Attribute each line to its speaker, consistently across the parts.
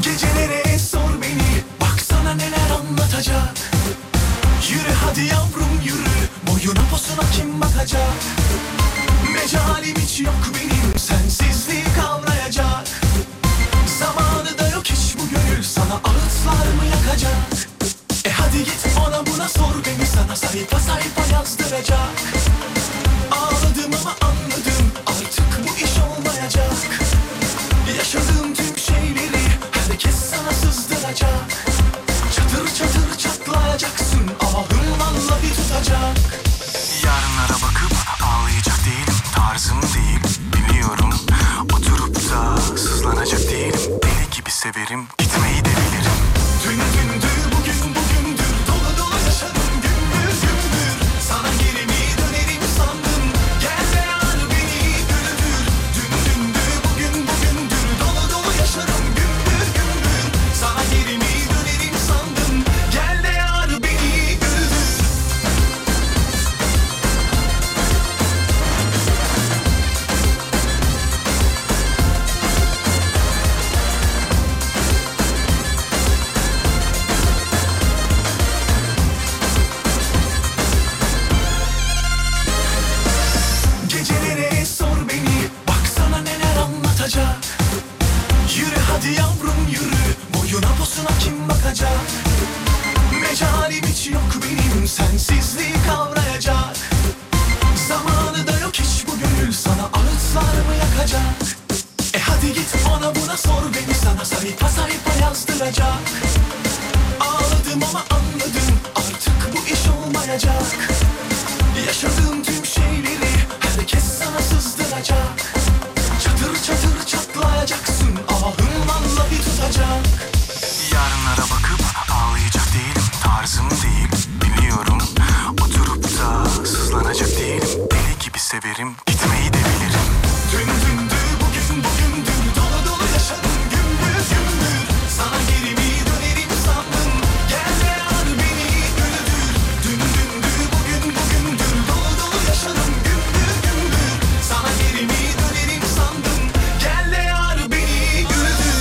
Speaker 1: Gecelere sor beni Baksana neler anlatacak Yürü hadi yavrum yürü Boyuna posuna kim bakacak Mecalim hiç yok benim Sensizliği kavrayacak Zamanı da yok hiç bu gönül Sana ağıtlar mı yakacak E hadi git ona buna sor beni Sana sayfa sayfa yazdıracak Ağladım ama anladım Artık bu iş olmayacak Yaşadığım tüm şeyleri herkes sana sızdıracak Çatır çatır çatlayacaksın ahım valla bir tutacak Yarınlara bakıp ağlayacak değilim Tarzım değil biliyorum Oturup da sızlanacak değilim Deli gibi severim gitmeyi de bilirim Dün dündü bugün bugündür Dolu dolu yaşadım gümbür gümbür Sana geri mi dönerim sandım Gel de al beni güldür Dün dündü bugün bugündür Dolu dolu yaşarım gümbür gümbür Sana geri mi dönerim sandım Gel de al beni güldür Gecelere sor beni Baksana neler anlatacak Yürü hadi yavrum yürü Boyuna posuna kim bakacak Mecalim hiç yok benim Sensizliği kavrayacak Zamanı da yok hiç bu gönül Sana ağıtlar mı yakacak E hadi git ona buna sor beni Sana sayfa sayfa yazdıracak Ağladım ama anladım Artık bu iş olmayacak Yaşadığım tüm şeyleri herkes sana sızdıracak Çatır çatır çatlayacaksın ahım vallahi tutacak Yarınlara bakıp ağlayacak değilim tarzım değil biliyorum Oturup da sızlanacak değilim deli gibi severim gitmeyi de bilirim Dün dündü bugün bugündür dolu dolu yaşadım gümbür gümbür Sana geri mi dönerim sandım gel de al beni güldür Dün dündü bugün bugündür dolu dolu yaşadım gümbür gümbür Sana geri mi dönerim sandım gel de al beni güldür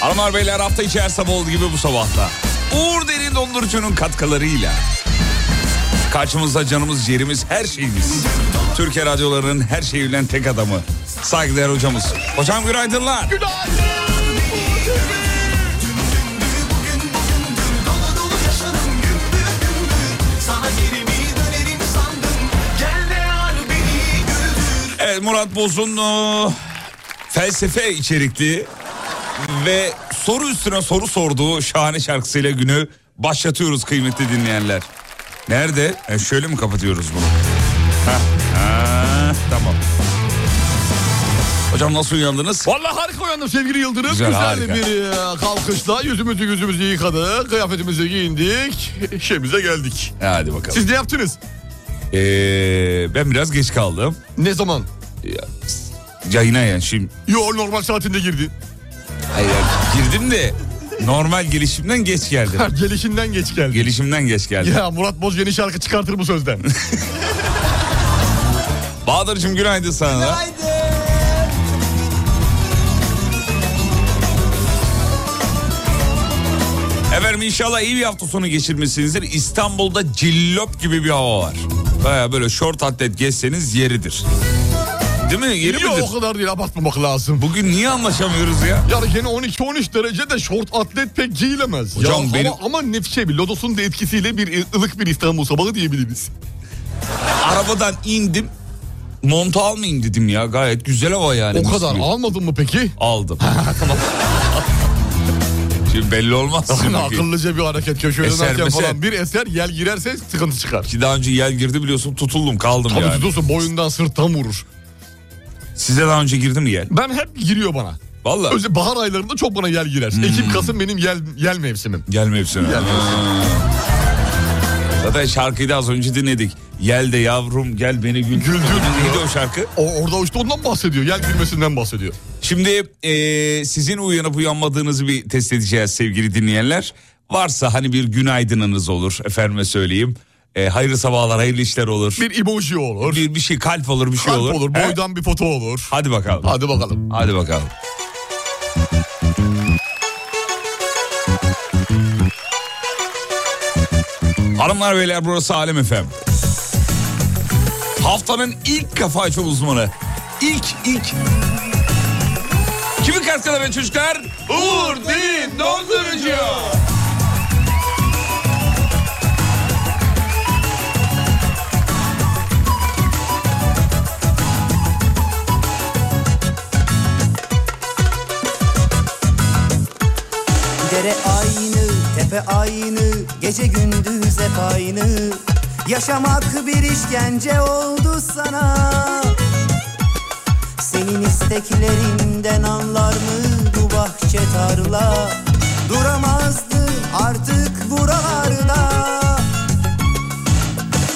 Speaker 2: Hanımlar beyler hafta içi her sabah olduğu gibi bu sabahta. Uğur Derin Dondurucu'nun katkılarıyla. Karşımızda canımız, ciğerimiz, her şeyimiz. Türkiye radyolarının her şeyiyle tek adamı. Saygıdeğer hocamız. Hocam günaydınlar.
Speaker 1: Sana geri mi dönerim sandım Gel de al beni
Speaker 2: Evet Murat Boz'un o, felsefe içerikli ve soru üstüne soru sorduğu şahane şarkısıyla günü başlatıyoruz kıymetli dinleyenler. Nerede? E, şöyle mi kapatıyoruz bunu? Hah, ha, tamam. Hocam nasıl uyandınız?
Speaker 3: Vallahi harika uyandım sevgili Yıldırım.
Speaker 2: Güzel,
Speaker 3: Güzel,
Speaker 2: harika.
Speaker 3: bir e, kalkışla yüzümüzü yüzümüzü yıkadık. Kıyafetimizi giyindik. İşimize geldik.
Speaker 2: E, Hadi bakalım.
Speaker 3: Siz ne yaptınız?
Speaker 2: Ee, ben biraz geç kaldım.
Speaker 3: Ne zaman?
Speaker 2: Yayına yani şimdi.
Speaker 3: Yo normal saatinde girdin.
Speaker 2: Hayır, girdim de normal gelişimden geç geldim.
Speaker 3: Ha, Gelişinden geç geldin.
Speaker 2: Gelişimden geç geldim.
Speaker 3: Ya Murat Boz yeni şarkı çıkartır bu sözden.
Speaker 2: Bahadır'cığım günaydın sana. Efendim inşallah iyi bir hafta sonu geçirmişsinizdir. İstanbul'da cillop gibi bir hava var. Baya böyle şort atlet gezseniz yeridir. Değil mi? Yeri
Speaker 3: Yo
Speaker 2: midir?
Speaker 3: o kadar değil abartmamak lazım.
Speaker 2: Bugün niye anlaşamıyoruz ya?
Speaker 3: Yani gene 12-13 derecede şort atlet pek giyilemez.
Speaker 2: Hocam
Speaker 3: ya,
Speaker 2: benim-
Speaker 3: ama, ama nefşe bir lodosun da etkisiyle bir ılık bir İstanbul sabahı diyebiliriz.
Speaker 2: Arabadan indim. Montu almayayım dedim ya. Gayet güzel hava yani.
Speaker 3: O
Speaker 2: Mis
Speaker 3: kadar
Speaker 2: gibi.
Speaker 3: almadın mı peki?
Speaker 2: aldım. Şimdi belli olmaz.
Speaker 3: Yani
Speaker 2: Bakayım.
Speaker 3: akıllıca bir hareket köşeye
Speaker 2: Eser
Speaker 3: dönerken
Speaker 2: meser.
Speaker 3: falan bir eser yel girerse sıkıntı çıkar.
Speaker 2: Ki daha önce yel girdi biliyorsun tutuldum kaldım
Speaker 3: Tabii
Speaker 2: yani.
Speaker 3: tutuyorsun boyundan sırttan vurur.
Speaker 2: Size daha önce girdi mi yel?
Speaker 3: Ben hep giriyor bana.
Speaker 2: Valla.
Speaker 3: Özellikle bahar aylarında çok bana yel girer.
Speaker 2: Hmm.
Speaker 3: Ekim, Kasım benim yel, yel mevsimim.
Speaker 2: Gelme hepsine.
Speaker 3: Yel mevsimi.
Speaker 2: Zaten şarkıyı da az önce dinledik. Yel de yavrum gel beni güldür.
Speaker 3: Güldür diyor.
Speaker 2: Neydi o şarkı?
Speaker 3: O, orada işte ondan bahsediyor. Yel girmesinden bahsediyor.
Speaker 2: Şimdi e, sizin uyanıp uyanmadığınızı bir test edeceğiz sevgili dinleyenler. Varsa hani bir günaydınınız olur efendime söyleyeyim. E, hayırlı sabahlar hayırlı işler olur. Bir,
Speaker 3: Bir emoji olur.
Speaker 2: bir, şey kalp olur bir şey
Speaker 3: kalp
Speaker 2: olur.
Speaker 3: olur.
Speaker 2: He?
Speaker 3: Boydan bir foto olur.
Speaker 2: Hadi bakalım.
Speaker 3: Hadi bakalım.
Speaker 2: Hadi bakalım. Hanımlar beyler burası Alem Efem. Haftanın ilk kafa açma uzmanı. İlk ilk. Kimi karşıladı be çocuklar? Uğur Din Dondurucu.
Speaker 4: Dere aynı, tepe aynı, gece gündüz hep aynı. Yaşamak bir işkence oldu sana. Senin isteklerinden anlar mı bu bahçe tarla? Duramazdı artık buralarda.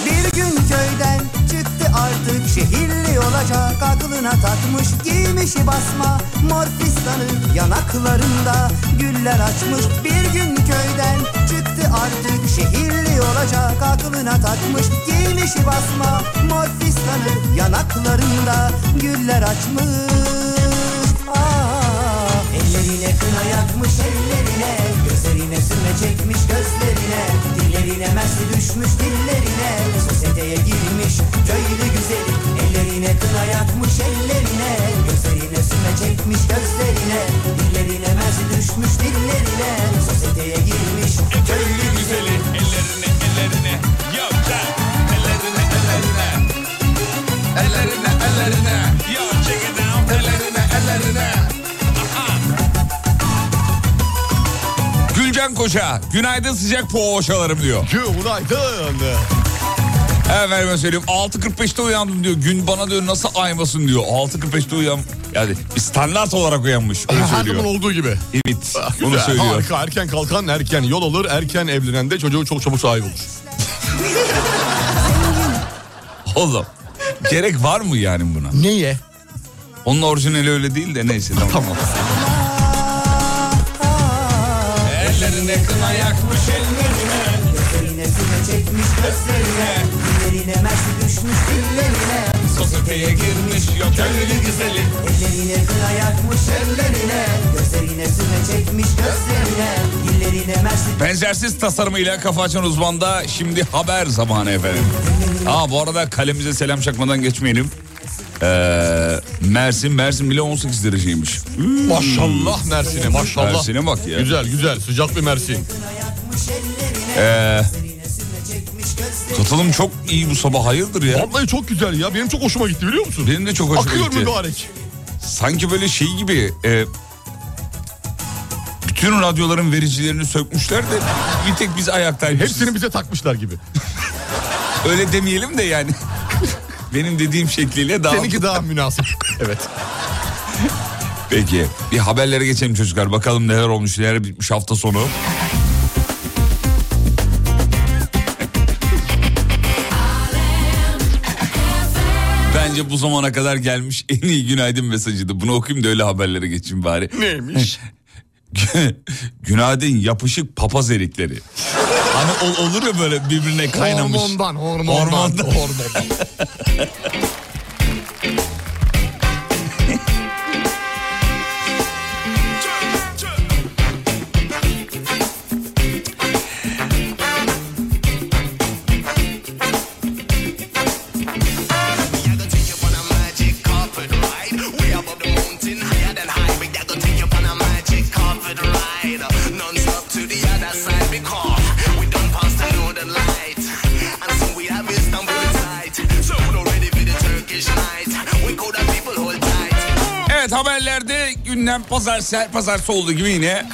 Speaker 4: Bir gün köyden çıktı artık şehirli olacak Aklına takmış giymişi basma Mor fistanı yanaklarında güller açmış Bir gün köyden çıktı artık şehirli olacak Aklına takmış giymişi basma Mor fistanı yanaklarında güller açmış Ah, Ellerine kına yakmış ellerine Gözlerine sürme çekmiş gözlerine Dillerine mersi düşmüş dillerine Sosyeteye girmiş köylü güzeli Ellerine kına yakmış ellerine Gözlerine sürme çekmiş gözlerine Dillerine mersi düşmüş dillerine Sosyeteye girmiş köylü güzeli
Speaker 2: Ellerine ellerine yavca. Ellerine ellerine. Ellerine ellerine. Yavca gidem. Ellerine ellerine. Gülcan Koca, günaydın sıcak poğaçalarım diyor.
Speaker 3: Günaydın.
Speaker 2: Efendime söyleyeyim 6.45'te uyandım diyor. Gün bana diyor nasıl aymasın diyor. 6.45'te uyan yani bir standart olarak uyanmış. Öyle
Speaker 3: Her zaman
Speaker 2: söylüyor.
Speaker 3: olduğu gibi.
Speaker 2: Evet bunu
Speaker 3: Ah, Güzel,
Speaker 2: söylüyor.
Speaker 3: Harika. Erken kalkan erken yol alır. Erken evlenen de çocuğu çok çabuk sahibi olur.
Speaker 2: Oğlum gerek var mı yani buna?
Speaker 3: Neye?
Speaker 2: Onun orijinali öyle değil de neyse tamam.
Speaker 3: Tamam.
Speaker 4: Ah,
Speaker 2: Ellerine kına yakmış ellerine.
Speaker 4: Gözlerine sürme çekmiş gözlerine Dillerine mersi düşmüş dillerine
Speaker 2: Sosyeteye girmiş yok köylü güzeli.
Speaker 4: Ellerine kına yakmış ellerine Gözlerine sürme çekmiş gözlerine Dillerine mersi
Speaker 2: Benzersiz tasarımıyla kafa açan uzmanda şimdi haber zamanı efendim. Aa bu arada kalemize selam çakmadan geçmeyelim. Ee, Mersin, Mersin bile 18 dereceymiş. Üü,
Speaker 3: Maşallah Mersin'e maşallah.
Speaker 2: Mersin'e bak ya.
Speaker 3: Güzel güzel sıcak bir Mersin.
Speaker 2: Katılım çok iyi bu sabah hayırdır ya.
Speaker 3: Vallahi çok güzel ya. Benim çok hoşuma gitti biliyor musun?
Speaker 2: Benim de çok hoşuma
Speaker 3: Akıyor
Speaker 2: gitti.
Speaker 3: mübarek.
Speaker 2: Sanki böyle şey gibi e, bütün radyoların vericilerini sökmüşler de bir tek biz ayaktaymışız.
Speaker 3: Hepsini bize takmışlar gibi.
Speaker 2: öyle demeyelim de yani. Benim dediğim şekliyle daha
Speaker 3: Seninki daha münasip. Evet.
Speaker 2: Peki. Bir haberlere geçelim çocuklar. Bakalım neler olmuş, neler bitmiş hafta sonu. Bence bu zamana kadar gelmiş en iyi günaydın mesajıydı. Bunu okuyayım da öyle haberlere geçeyim bari.
Speaker 3: Neymiş?
Speaker 2: günaydın yapışık papaz erikleri. Hani ol- olur ya böyle birbirine kaynamış.
Speaker 3: Hormondan, hormondan,
Speaker 2: Hormondan.
Speaker 3: hormondan.
Speaker 2: Evet haberlerde gündem pazartesi, her pazartesi olduğu gibi yine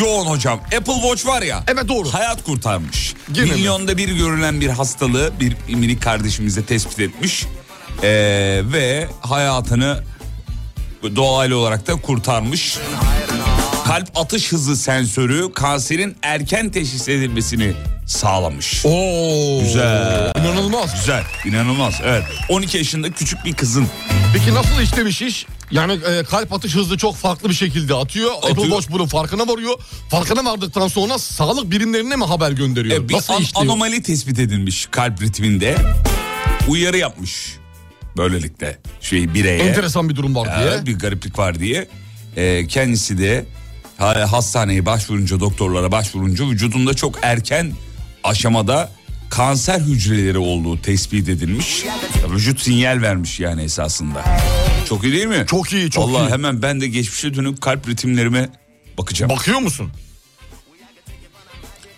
Speaker 2: yoğun hocam. Apple Watch var ya.
Speaker 3: Evet, doğru.
Speaker 2: Hayat kurtarmış.
Speaker 3: Gene mi?
Speaker 2: Milyonda bir görülen bir hastalığı bir minik kardeşimize tespit etmiş. Ee, ve hayatını doğal olarak da kurtarmış. Kalp atış hızı sensörü kanserin erken teşhis edilmesini sağlamış.
Speaker 3: Oo.
Speaker 2: Güzel.
Speaker 3: İnanılmaz.
Speaker 2: Güzel, inanılmaz. Evet. 12 yaşında küçük bir kızın
Speaker 3: Peki nasıl işlemiş iş? Yani e, kalp atış hızı çok farklı bir şekilde atıyor. Apple
Speaker 2: Atıyor.
Speaker 3: Watch bunun farkına varıyor. Farkına vardıktan sonra sağlık birimlerine mi haber gönderiyor?
Speaker 2: e, bir
Speaker 3: nasıl
Speaker 2: an-
Speaker 3: işliyor?
Speaker 2: anomali tespit edilmiş kalp ritminde. Uyarı yapmış. Böylelikle şey bireye.
Speaker 3: Enteresan bir durum var
Speaker 2: Ya,
Speaker 3: diye.
Speaker 2: bir gariplik var diye. Ee, kendisi de ha- hastaneye başvurunca doktorlara başvurunca vücudunda çok erken aşamada kanser hücreleri olduğu tespit edilmiş. Ya, vücut sinyal vermiş yani esasında. Çok iyi değil mi?
Speaker 3: Çok iyi, çok
Speaker 2: Vallahi
Speaker 3: iyi.
Speaker 2: hemen ben de geçmişe dönüp kalp ritimlerime bakacağım.
Speaker 3: Bakıyor musun?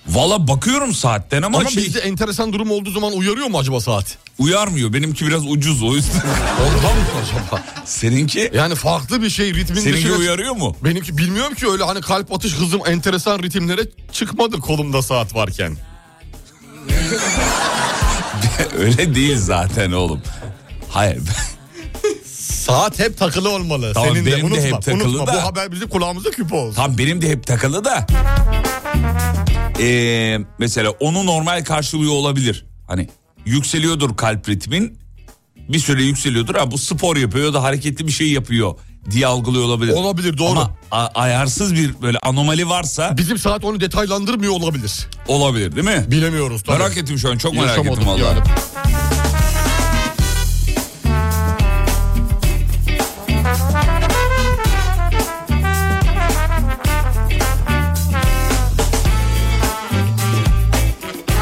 Speaker 2: Valla bakıyorum saatten ama,
Speaker 3: Ama
Speaker 2: şey,
Speaker 3: bizde enteresan durum olduğu zaman uyarıyor mu acaba saat?
Speaker 2: uyarmıyor. Benimki biraz ucuz o yüzden.
Speaker 3: Ondan mı acaba? E,
Speaker 2: Seninki?
Speaker 3: Yani farklı bir şey ritmin
Speaker 2: Seninki
Speaker 3: dışına-
Speaker 2: uyarıyor mu?
Speaker 3: Benimki bilmiyorum ki öyle hani kalp atış hızım enteresan ritimlere çıkmadı kolumda saat varken.
Speaker 2: Öyle değil zaten oğlum. Hayır.
Speaker 3: Saat hep takılı olmalı.
Speaker 2: Tamam,
Speaker 3: Senin de
Speaker 2: benim de
Speaker 3: unutma.
Speaker 2: hep takılı
Speaker 3: unutma.
Speaker 2: da.
Speaker 3: Bu haber bizim kulağımızda küpe olsun.
Speaker 2: Tam benim de hep takılı da. Ee, mesela onu normal karşılıyor olabilir. Hani yükseliyordur kalp ritmin. Bir süre yükseliyordur. Ha, bu spor yapıyor ya da hareketli bir şey yapıyor diye algılıyor olabilir.
Speaker 3: Olabilir, doğru.
Speaker 2: Ama a- ayarsız bir böyle anomali varsa
Speaker 3: Bizim saat onu detaylandırmıyor olabilir.
Speaker 2: olabilir değil mi?
Speaker 3: Bilemiyoruz tabii.
Speaker 2: Merak ettim şu an çok merak ettim
Speaker 3: Yaşamadım
Speaker 2: valla.
Speaker 3: yani.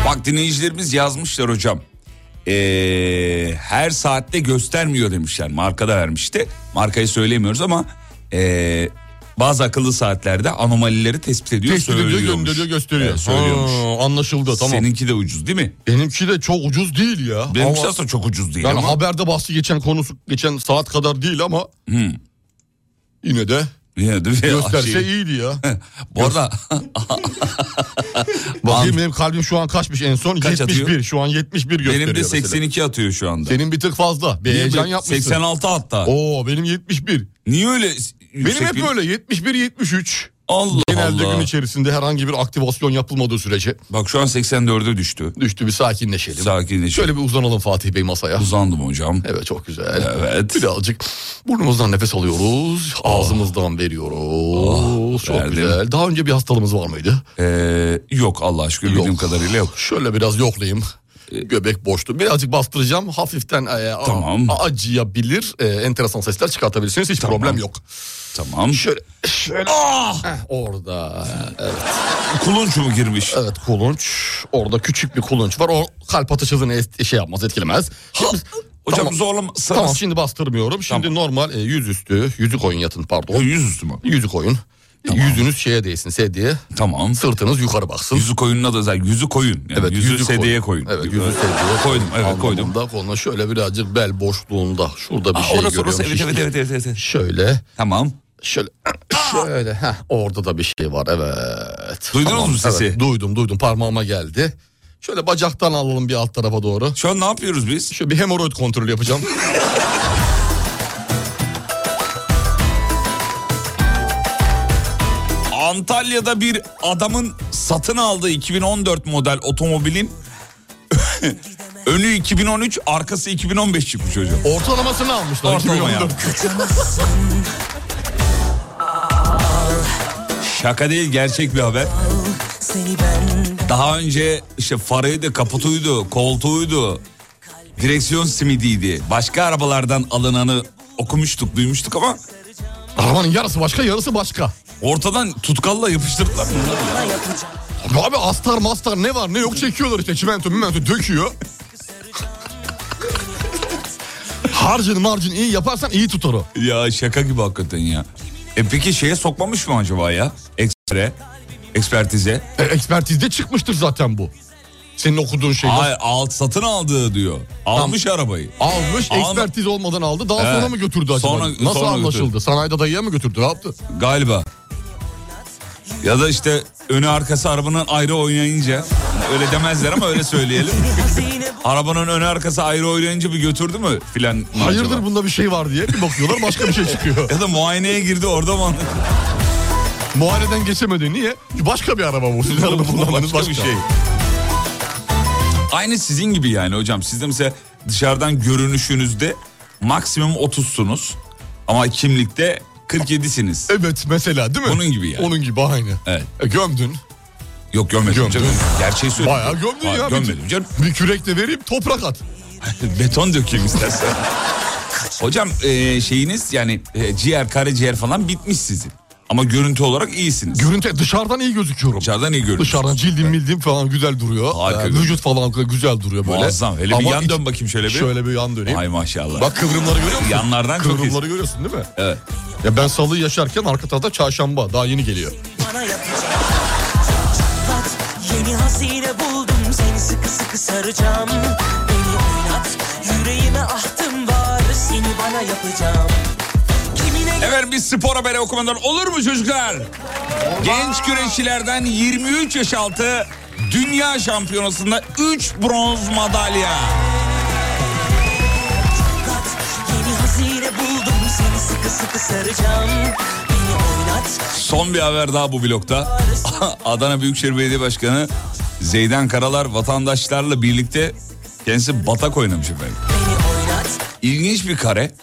Speaker 2: Bak dinleyicilerimiz yazmışlar hocam. Ee, her saatte göstermiyor demişler. Marka da vermişti. Markayı söylemiyoruz ama ee, bazı akıllı saatlerde anomalileri tespit ediyor,
Speaker 3: Tespit ediyor,
Speaker 2: söylüyormuş.
Speaker 3: gönderiyor, gösteriyor.
Speaker 2: Evet, söylüyormuş.
Speaker 3: Ha, anlaşıldı tamam.
Speaker 2: Seninki de ucuz değil mi?
Speaker 3: Benimki de çok ucuz değil ya.
Speaker 2: Benimki
Speaker 3: Ama-
Speaker 2: aslında çok ucuz değil
Speaker 3: Yani
Speaker 2: ama
Speaker 3: haberde bahsi geçen konusu geçen saat kadar değil ama yine de
Speaker 2: yine de bir
Speaker 3: gösterse
Speaker 2: şey-
Speaker 3: iyiydi ya.
Speaker 2: Bu arada
Speaker 3: Bakayım benim kalbim şu an kaçmış en son?
Speaker 2: Kaç
Speaker 3: 71.
Speaker 2: atıyor?
Speaker 3: Şu an 71 gösteriyor
Speaker 2: benim de
Speaker 3: mesela.
Speaker 2: 82 atıyor şu anda.
Speaker 3: Senin bir tık fazla. Bir
Speaker 2: Niye
Speaker 3: heyecan
Speaker 2: be-
Speaker 3: yapmışsın.
Speaker 2: 86 hatta.
Speaker 3: Oo benim 71.
Speaker 2: Niye öyle? yüksek
Speaker 3: Benim hep
Speaker 2: bir-
Speaker 3: böyle 71 73.
Speaker 2: Allah
Speaker 3: Genelde
Speaker 2: Allah.
Speaker 3: gün içerisinde herhangi bir aktivasyon yapılmadığı sürece
Speaker 2: Bak şu an 84'e düştü.
Speaker 3: düştü bir sakinleşelim.
Speaker 2: Sakinleş.
Speaker 3: Şöyle bir uzanalım Fatih Bey masaya.
Speaker 2: uzandım hocam.
Speaker 3: Evet çok güzel.
Speaker 2: Evet.
Speaker 3: Birazcık burnumuzdan nefes alıyoruz. Ağzımızdan veriyoruz.
Speaker 2: Ah,
Speaker 3: çok
Speaker 2: verdim.
Speaker 3: güzel. Daha önce bir hastalığımız var mıydı?
Speaker 2: Ee, yok Allah aşkına bildiğim kadarıyla yok. Ee,
Speaker 3: Şöyle biraz yoklayayım. Göbek boştu. Birazcık bastıracağım. Hafiften e, a-
Speaker 2: Tamam.
Speaker 3: a- acıyabilir. E, enteresan sesler çıkartabilirsiniz. Hiç problem yok.
Speaker 2: Tamam.
Speaker 3: Şöyle, şöyle
Speaker 2: Ah!
Speaker 3: orada. Evet,
Speaker 2: Kulunç mu girmiş?
Speaker 3: evet kulunç. Orada küçük bir kulunç var. O kalp atış hızını es- şey yapmaz, etkilemez. Şimdi-
Speaker 2: Hocam
Speaker 3: Tamam.
Speaker 2: zorlama. Sana...
Speaker 3: Tamam şimdi bastırmıyorum. Şimdi normal e, yüzüstü, yüzük oyun yatın
Speaker 2: O
Speaker 3: pardon.
Speaker 2: yüzüstü mü?
Speaker 3: Yüzük oyun. Yüzünüz şeye değsin sediye.
Speaker 2: Tamam.
Speaker 3: Sırtınız yukarı baksın.
Speaker 2: Yüzü koyununa da zaten yüzü koyun. Yani
Speaker 3: Evet,
Speaker 2: yüzü,
Speaker 3: yüzük
Speaker 2: sedeye koyun.
Speaker 3: Evet, yüzü sediye
Speaker 2: Koydum evet
Speaker 3: Anlamında
Speaker 2: koydum.
Speaker 3: konu şöyle birazcık bel boşluğunda şurada bir
Speaker 2: Aa,
Speaker 3: şey
Speaker 2: orası
Speaker 3: görüyormuş.
Speaker 2: orası evet
Speaker 3: işte.
Speaker 2: evet, evet evet evet.
Speaker 3: Şöyle,
Speaker 2: Tamam.
Speaker 3: şöyle, şöyle. Heh, orada da bir şey var evet.
Speaker 2: Duydunuz mu sesi?
Speaker 3: evet, duydum duydum parmağıma geldi. Şöyle bacaktan alalım bir alt tarafa doğru.
Speaker 2: Şu an ne yapıyoruz biz?
Speaker 3: Şöyle bir hemoroid kontrolü yapacağım.
Speaker 2: Antalya'da bir adamın satın aldığı 2014 model otomobilin önü 2013 arkası 2015 çıkmış hocam.
Speaker 3: Ortalamasını almışlar.
Speaker 2: Ortalama ya.
Speaker 3: 2014.
Speaker 2: Şaka değil gerçek bir haber. Daha önce işte farıydı, kaputuydu, koltuğuydu, direksiyon simidiydi. Başka arabalardan alınanı okumuştuk, duymuştuk ama
Speaker 3: Arabanın yarısı başka yarısı başka.
Speaker 2: ortadan tutkalla yapıştırdılar bunları ya.
Speaker 3: Abi astar mastar ne var ne yok çekiyorlar işte çimento mimento döküyor. harcın marcın iyi yaparsan iyi tutar o.
Speaker 2: Ya şaka gibi hakikaten ya. E peki şeye sokmamış mı acaba ya? Ekspere, ekspertize.
Speaker 3: E, ekspertizde çıkmıştır zaten bu. Senin okuduğun şey.
Speaker 2: Hayır, alt satın aldığı diyor. Almış arabayı.
Speaker 3: Almış
Speaker 2: Alma-
Speaker 3: ekspertiz olmadan aldı daha
Speaker 2: Evet.
Speaker 3: sonra mı götürdü acaba?
Speaker 2: Sonra-
Speaker 3: Nasıl
Speaker 2: sonra
Speaker 3: anlaşıldı?
Speaker 2: götürdü.
Speaker 3: Sanayide dayıya mı götürdü ne yaptı?
Speaker 2: Galiba. Ya da işte önü arkası arabanın ayrı oynayınca öyle demezler ama öyle söyleyelim. arabanın önü arkası ayrı oynayınca bir götürdü mü filan mı
Speaker 3: Hayırdır
Speaker 2: acaba?
Speaker 3: bunda bir şey var diye bir bakıyorlar başka bir şey çıkıyor.
Speaker 2: Ya da muayeneye girdi orada mı?
Speaker 3: Muayeneden geçemedi niye? Başka bir araba bu. Sizin araba kullandığınız başka.
Speaker 2: bir şey. Aynı sizin gibi yani hocam. Siz de mesela dışarıdan görünüşünüzde maksimum 30'sunuz ama kimlikte 47'siniz.
Speaker 3: Evet mesela değil mi?
Speaker 2: Onun gibi yani.
Speaker 3: Onun gibi aynı.
Speaker 2: Evet.
Speaker 3: E, gömdün.
Speaker 2: Yok görmedim
Speaker 3: Gömdün.
Speaker 2: canım. Gerçeği söyledim.
Speaker 3: Bayağı gömdün
Speaker 2: Hayır,
Speaker 3: ya.
Speaker 2: Gömmedim canım.
Speaker 3: Bir kürekle vereyim toprak at.
Speaker 2: Beton dökeyim istersen. Hocam e, şeyiniz yani e, ciğer karaciğer falan bitmiş sizin. Ama görüntü olarak iyisiniz.
Speaker 3: Görüntü dışarıdan iyi gözüküyorum.
Speaker 2: Dışarıdan iyi görünüyorsunuz.
Speaker 3: Dışarıdan cildim mildim falan güzel duruyor.
Speaker 2: Harika
Speaker 3: Ee,
Speaker 2: görünüyor.
Speaker 3: vücut falan güzel duruyor böyle.
Speaker 2: Muazzam. Hele bir
Speaker 3: Ama
Speaker 2: yan
Speaker 3: iç-
Speaker 2: dön bakayım şöyle bir.
Speaker 3: Şöyle bir yan döneyim.
Speaker 2: Ay maşallah.
Speaker 3: Bak kıvrımları görüyor musun?
Speaker 2: Yanlardan çok
Speaker 3: Kıvrımları
Speaker 2: iyisin.
Speaker 3: görüyorsun değil mi?
Speaker 2: Evet.
Speaker 3: Ya ben salı yaşarken arka tarafta çarşamba daha yeni geliyor.
Speaker 5: bana yapacak Çatlat yeni hazine buldum Seni sıkı sıkı saracağım Beni oynat yüreğime ahtım var Seni bana yapacağım Kimine
Speaker 2: Efendim bir spor haberi okumadan olur mu çocuklar? Genç güreşçilerden 23 yaş altı dünya şampiyonasında 3 bronz madalya.
Speaker 5: kat Yeni hazine buldum Seni sıkı sıkı saracağım Beni oynat
Speaker 2: Son bir haber daha bu blokta. Adana Büyükşehir Belediye Başkanı Zeydan Karalar vatandaşlarla birlikte kendisi batak oynamış efendim.
Speaker 5: Beni oynat
Speaker 2: İlginç bir kare.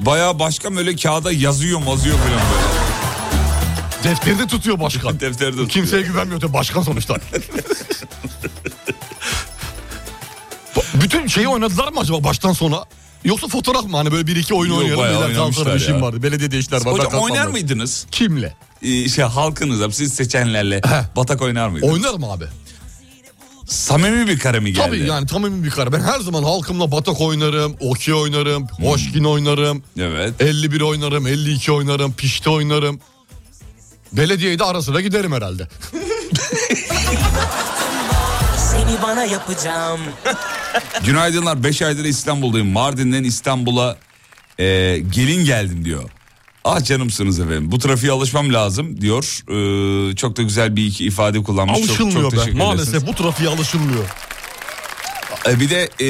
Speaker 2: Bayağı başkan böyle kağıda yazıyor mazıyor falan böyle.
Speaker 3: Defterde tutuyor başkan.
Speaker 2: Defterde tutuyor.
Speaker 3: Kimseye güvenmiyor tabii başkan sonuçta. Ba- Bütün şeyi oynadılar mı acaba baştan sona? Yoksa fotoğraf mı? Hani böyle bir iki oyun
Speaker 2: Yok,
Speaker 3: oynayalım.
Speaker 2: bayağı
Speaker 3: beyler kalkalım,
Speaker 2: oynamışlar
Speaker 3: işim
Speaker 2: ya.
Speaker 3: vardı. Belediyede işler var. ben
Speaker 2: Hocam
Speaker 3: kalkmam
Speaker 2: oynar
Speaker 3: lazım.
Speaker 2: mıydınız?
Speaker 3: Kimle?
Speaker 2: Ee, şey halkınızla siz seçenlerle batak oynar mıydınız?
Speaker 3: Oynarım abi.
Speaker 2: Samimi bir kare mi geldi?
Speaker 3: Tabii yani tamamı bir kare. Ben her zaman halkımla batak oynarım, okey oynarım,
Speaker 2: Hmm.
Speaker 3: hoşkin oynarım,
Speaker 2: Evet.
Speaker 3: 51 oynarım, 52 oynarım, pişti oynarım. Belediyeyi de ara sıra giderim herhalde.
Speaker 5: Seni bana yapacağım
Speaker 2: Günaydınlar 5 aydır İstanbul'dayım. Mardin'den İstanbul'a e, gelin geldim diyor. Ah canımsınız efendim. Bu trafiğe alışmam lazım diyor. Ee, çok da güzel bir iki ifade kullanmış. Çok- çok
Speaker 3: Alışılmıyor be.
Speaker 2: teşekkür
Speaker 3: Maalesef
Speaker 2: edersiniz.
Speaker 3: bu trafiğe alışılmıyor.
Speaker 2: Ee, bir de e,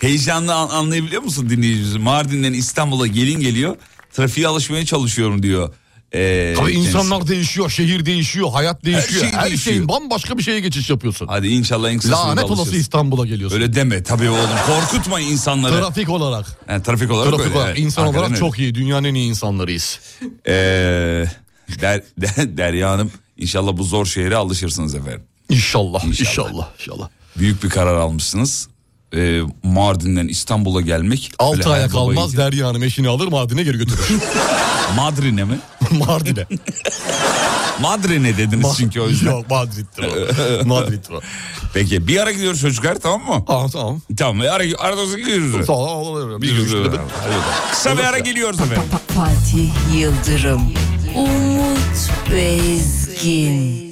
Speaker 2: heyecanlı an- anlayabiliyor musun dinleyicimizi? Mardin'den İstanbul'a gelin geliyor. Trafiğe alışmaya çalışıyorum diyor. Ee,
Speaker 3: Tabii
Speaker 2: kendisi.
Speaker 3: insanlar değişiyor, şehir değişiyor, hayat değişiyor.
Speaker 2: şey
Speaker 3: Her, şeyin
Speaker 2: değişiyor.
Speaker 3: bambaşka bir şeye geçiş yapıyorsun.
Speaker 2: Hadi inşallah en kısa sürede
Speaker 3: Lanet
Speaker 2: alışırsın.
Speaker 3: olası İstanbul'a geliyorsun.
Speaker 2: Öyle deme tabii oğlum. Korkutma insanları.
Speaker 3: Trafik olarak.
Speaker 2: Yani trafik olarak
Speaker 3: Trafik
Speaker 2: öyle,
Speaker 3: olarak,
Speaker 2: evet.
Speaker 3: insan
Speaker 2: Hakikaten
Speaker 3: olarak
Speaker 2: öyle.
Speaker 3: çok iyi. Dünyanın en iyi insanlarıyız.
Speaker 2: Ee, der, der, Derya Hanım inşallah bu zor şehre alışırsınız efendim.
Speaker 3: İnşallah,
Speaker 2: İnşallah.
Speaker 3: inşallah, inşallah.
Speaker 2: Büyük bir karar almışsınız. Ee, Mardin'den İstanbul'a gelmek.
Speaker 3: Altı
Speaker 2: Öyle
Speaker 3: aya
Speaker 2: her baba
Speaker 3: kalmaz
Speaker 2: yiğit.
Speaker 3: Derya Hanım eşini alır Mardin'e geri götürür.
Speaker 2: Madrin'e mi?
Speaker 3: Mardin'e.
Speaker 2: Madrin'e dediniz çünkü o yüzden.
Speaker 3: Yok Madrid'dir o. Madrid'dir o.
Speaker 2: Peki bir ara gidiyoruz çocuklar tamam mı?
Speaker 3: Aa, tamam.
Speaker 2: Tamam bir ara, arada gidiyoruz.
Speaker 3: Sağ ol.
Speaker 2: Biz gidiyoruz. Evet. Kısa bir ara geliyoruz efendim.
Speaker 6: Fatih Yıldırım, Umut Bezgin.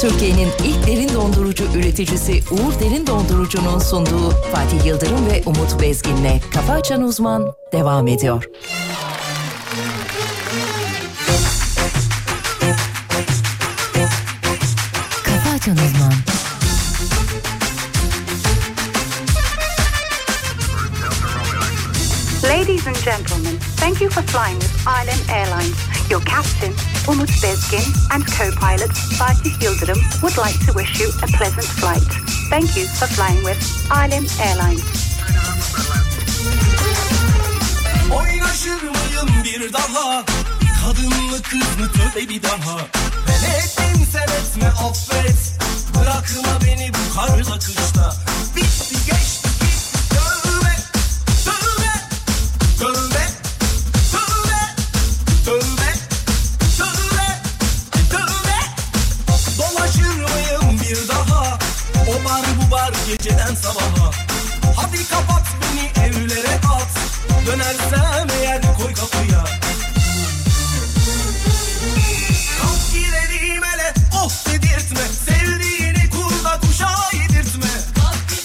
Speaker 6: Türkiye'nin ilk derin dondurucu üreticisi Uğur Derin Dondurucu'nun sunduğu Fatih Yıldırım ve Umut Bezgin'le Kafa Açan Uzman devam ediyor. Kafa Açan Uzman
Speaker 7: Ladies and gentlemen, thank you for flying with Ireland Airlines. Your captain, Umut Bezgin, and co-pilot Fatih Yıldırım would like to wish you a pleasant flight. Thank you for flying with Ireland Airlines.
Speaker 8: Oynaşır mıyım bir daha Kadın mı kız mı tövbe bir daha Ben ettimse etme affet Bırakma beni bu karla kışta Bitti geçti gitti tövbe Tövbe Tövbe Tövbe Tövbe Tövbe Tövbe Dolaşır mıyım bir daha O bar bu bar geceden sabaha Hadi kapat beni evlere at Dönersem eğer koy kapıya Kalk gidelim hele of dedirtme Sevdiğini kurda kuşa yedirtme Hadi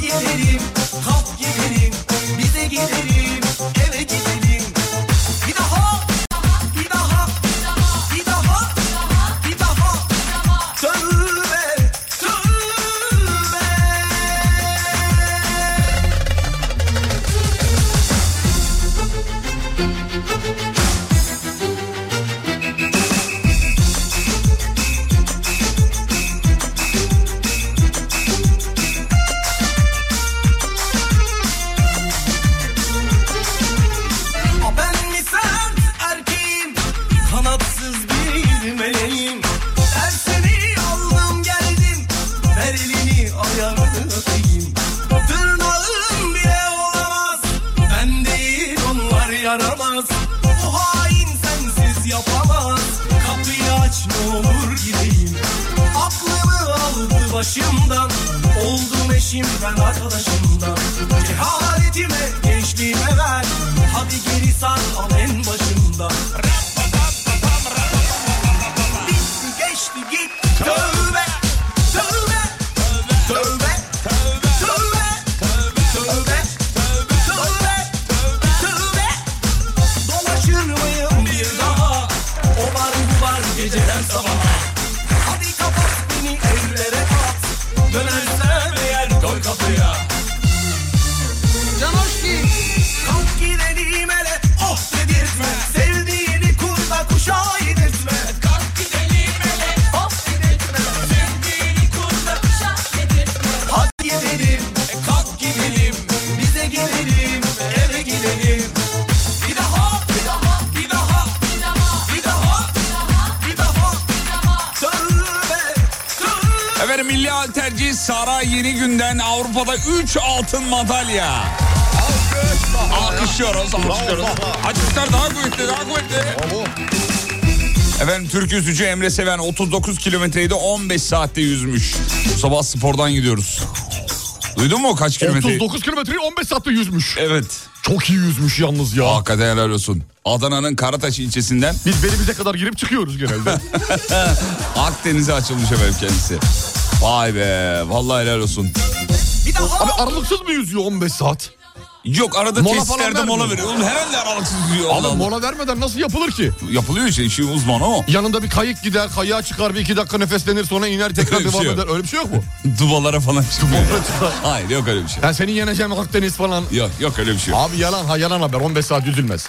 Speaker 8: gidelim kalk gidelim Bize gidelim yaşımdan Oldum eşimden arkadaşımdan Cehaletime gençliğime ver Hadi geri sar al en başımdan Bitti geçti git Tövbe Tövbe Tövbe Tövbe Tövbe Tövbe Tövbe Dolaşır mıyım bir daha O var bu var geceden sabaha Hadi kapat beni evlere at Dönersem eğer koy kapıya Canoşki Kalk gidelim hele oh dedirtme Sevdiğini kurda kuşa yedirtme Kalk gidelim hele oh dedirtme Sevdiğini kurda kuşa yedirtme Hadi gidelim e, kalk gidelim Bize gelelim eve gidelim Bir daha bir daha bir daha bir daha bir daha bir daha Tövbe tövbe
Speaker 2: Efendim milli halterci Sara yeni günden Avrupa'da 3 altın madalya. Alkışlıyoruz, alkışlıyoruz. Açıklar daha kuvvetli, daha kuvvetli. Efendim Türk yüzücü Emre Seven 39 kilometreyi de 15 saatte yüzmüş. Bu sabah spordan gidiyoruz. Duydun mu kaç kilometreyi?
Speaker 3: 39 kilometreyi 15 saatte yüzmüş.
Speaker 2: e- Evet.
Speaker 3: Çok iyi yüzmüş yalnız ya.
Speaker 2: Hakikaten helal olsun. Adana'nın Karataş ilçesinden
Speaker 3: Biz belimize kadar girip çıkıyoruz genelde.
Speaker 2: Akdeniz'e açılmış efendim kendisi. Vay be vallahi helal olsun.
Speaker 8: Bir daha
Speaker 3: Abi aralıksız mı yüzüyor 15 saat?
Speaker 2: Yok arada
Speaker 3: Mola
Speaker 2: tesislerde
Speaker 3: falan
Speaker 2: mola
Speaker 3: vermiyor.
Speaker 2: veriyor. Oğlum herhalde aralıksız diyor. Allah
Speaker 3: Abi
Speaker 2: Allah.
Speaker 3: mola vermeden nasıl yapılır ki?
Speaker 2: Yapılıyor işte işi uzmanı o.
Speaker 3: Yanında bir kayık gider, kayığa çıkar bir iki dakika nefeslenir sonra iner tekrar
Speaker 2: Öyle bir
Speaker 3: devam
Speaker 2: şey yok.
Speaker 3: eder. Öyle bir şey yok mu?
Speaker 2: Dubalara falan çıkıyor.
Speaker 3: Mola çıkar.
Speaker 2: Hayır yok öyle bir şey.
Speaker 3: Ben seni yeneceğim Akdeniz falan.
Speaker 2: Yok yok öyle bir şey. yok.
Speaker 3: Abi yalan ha yalan haber 15 saat yüzülmez.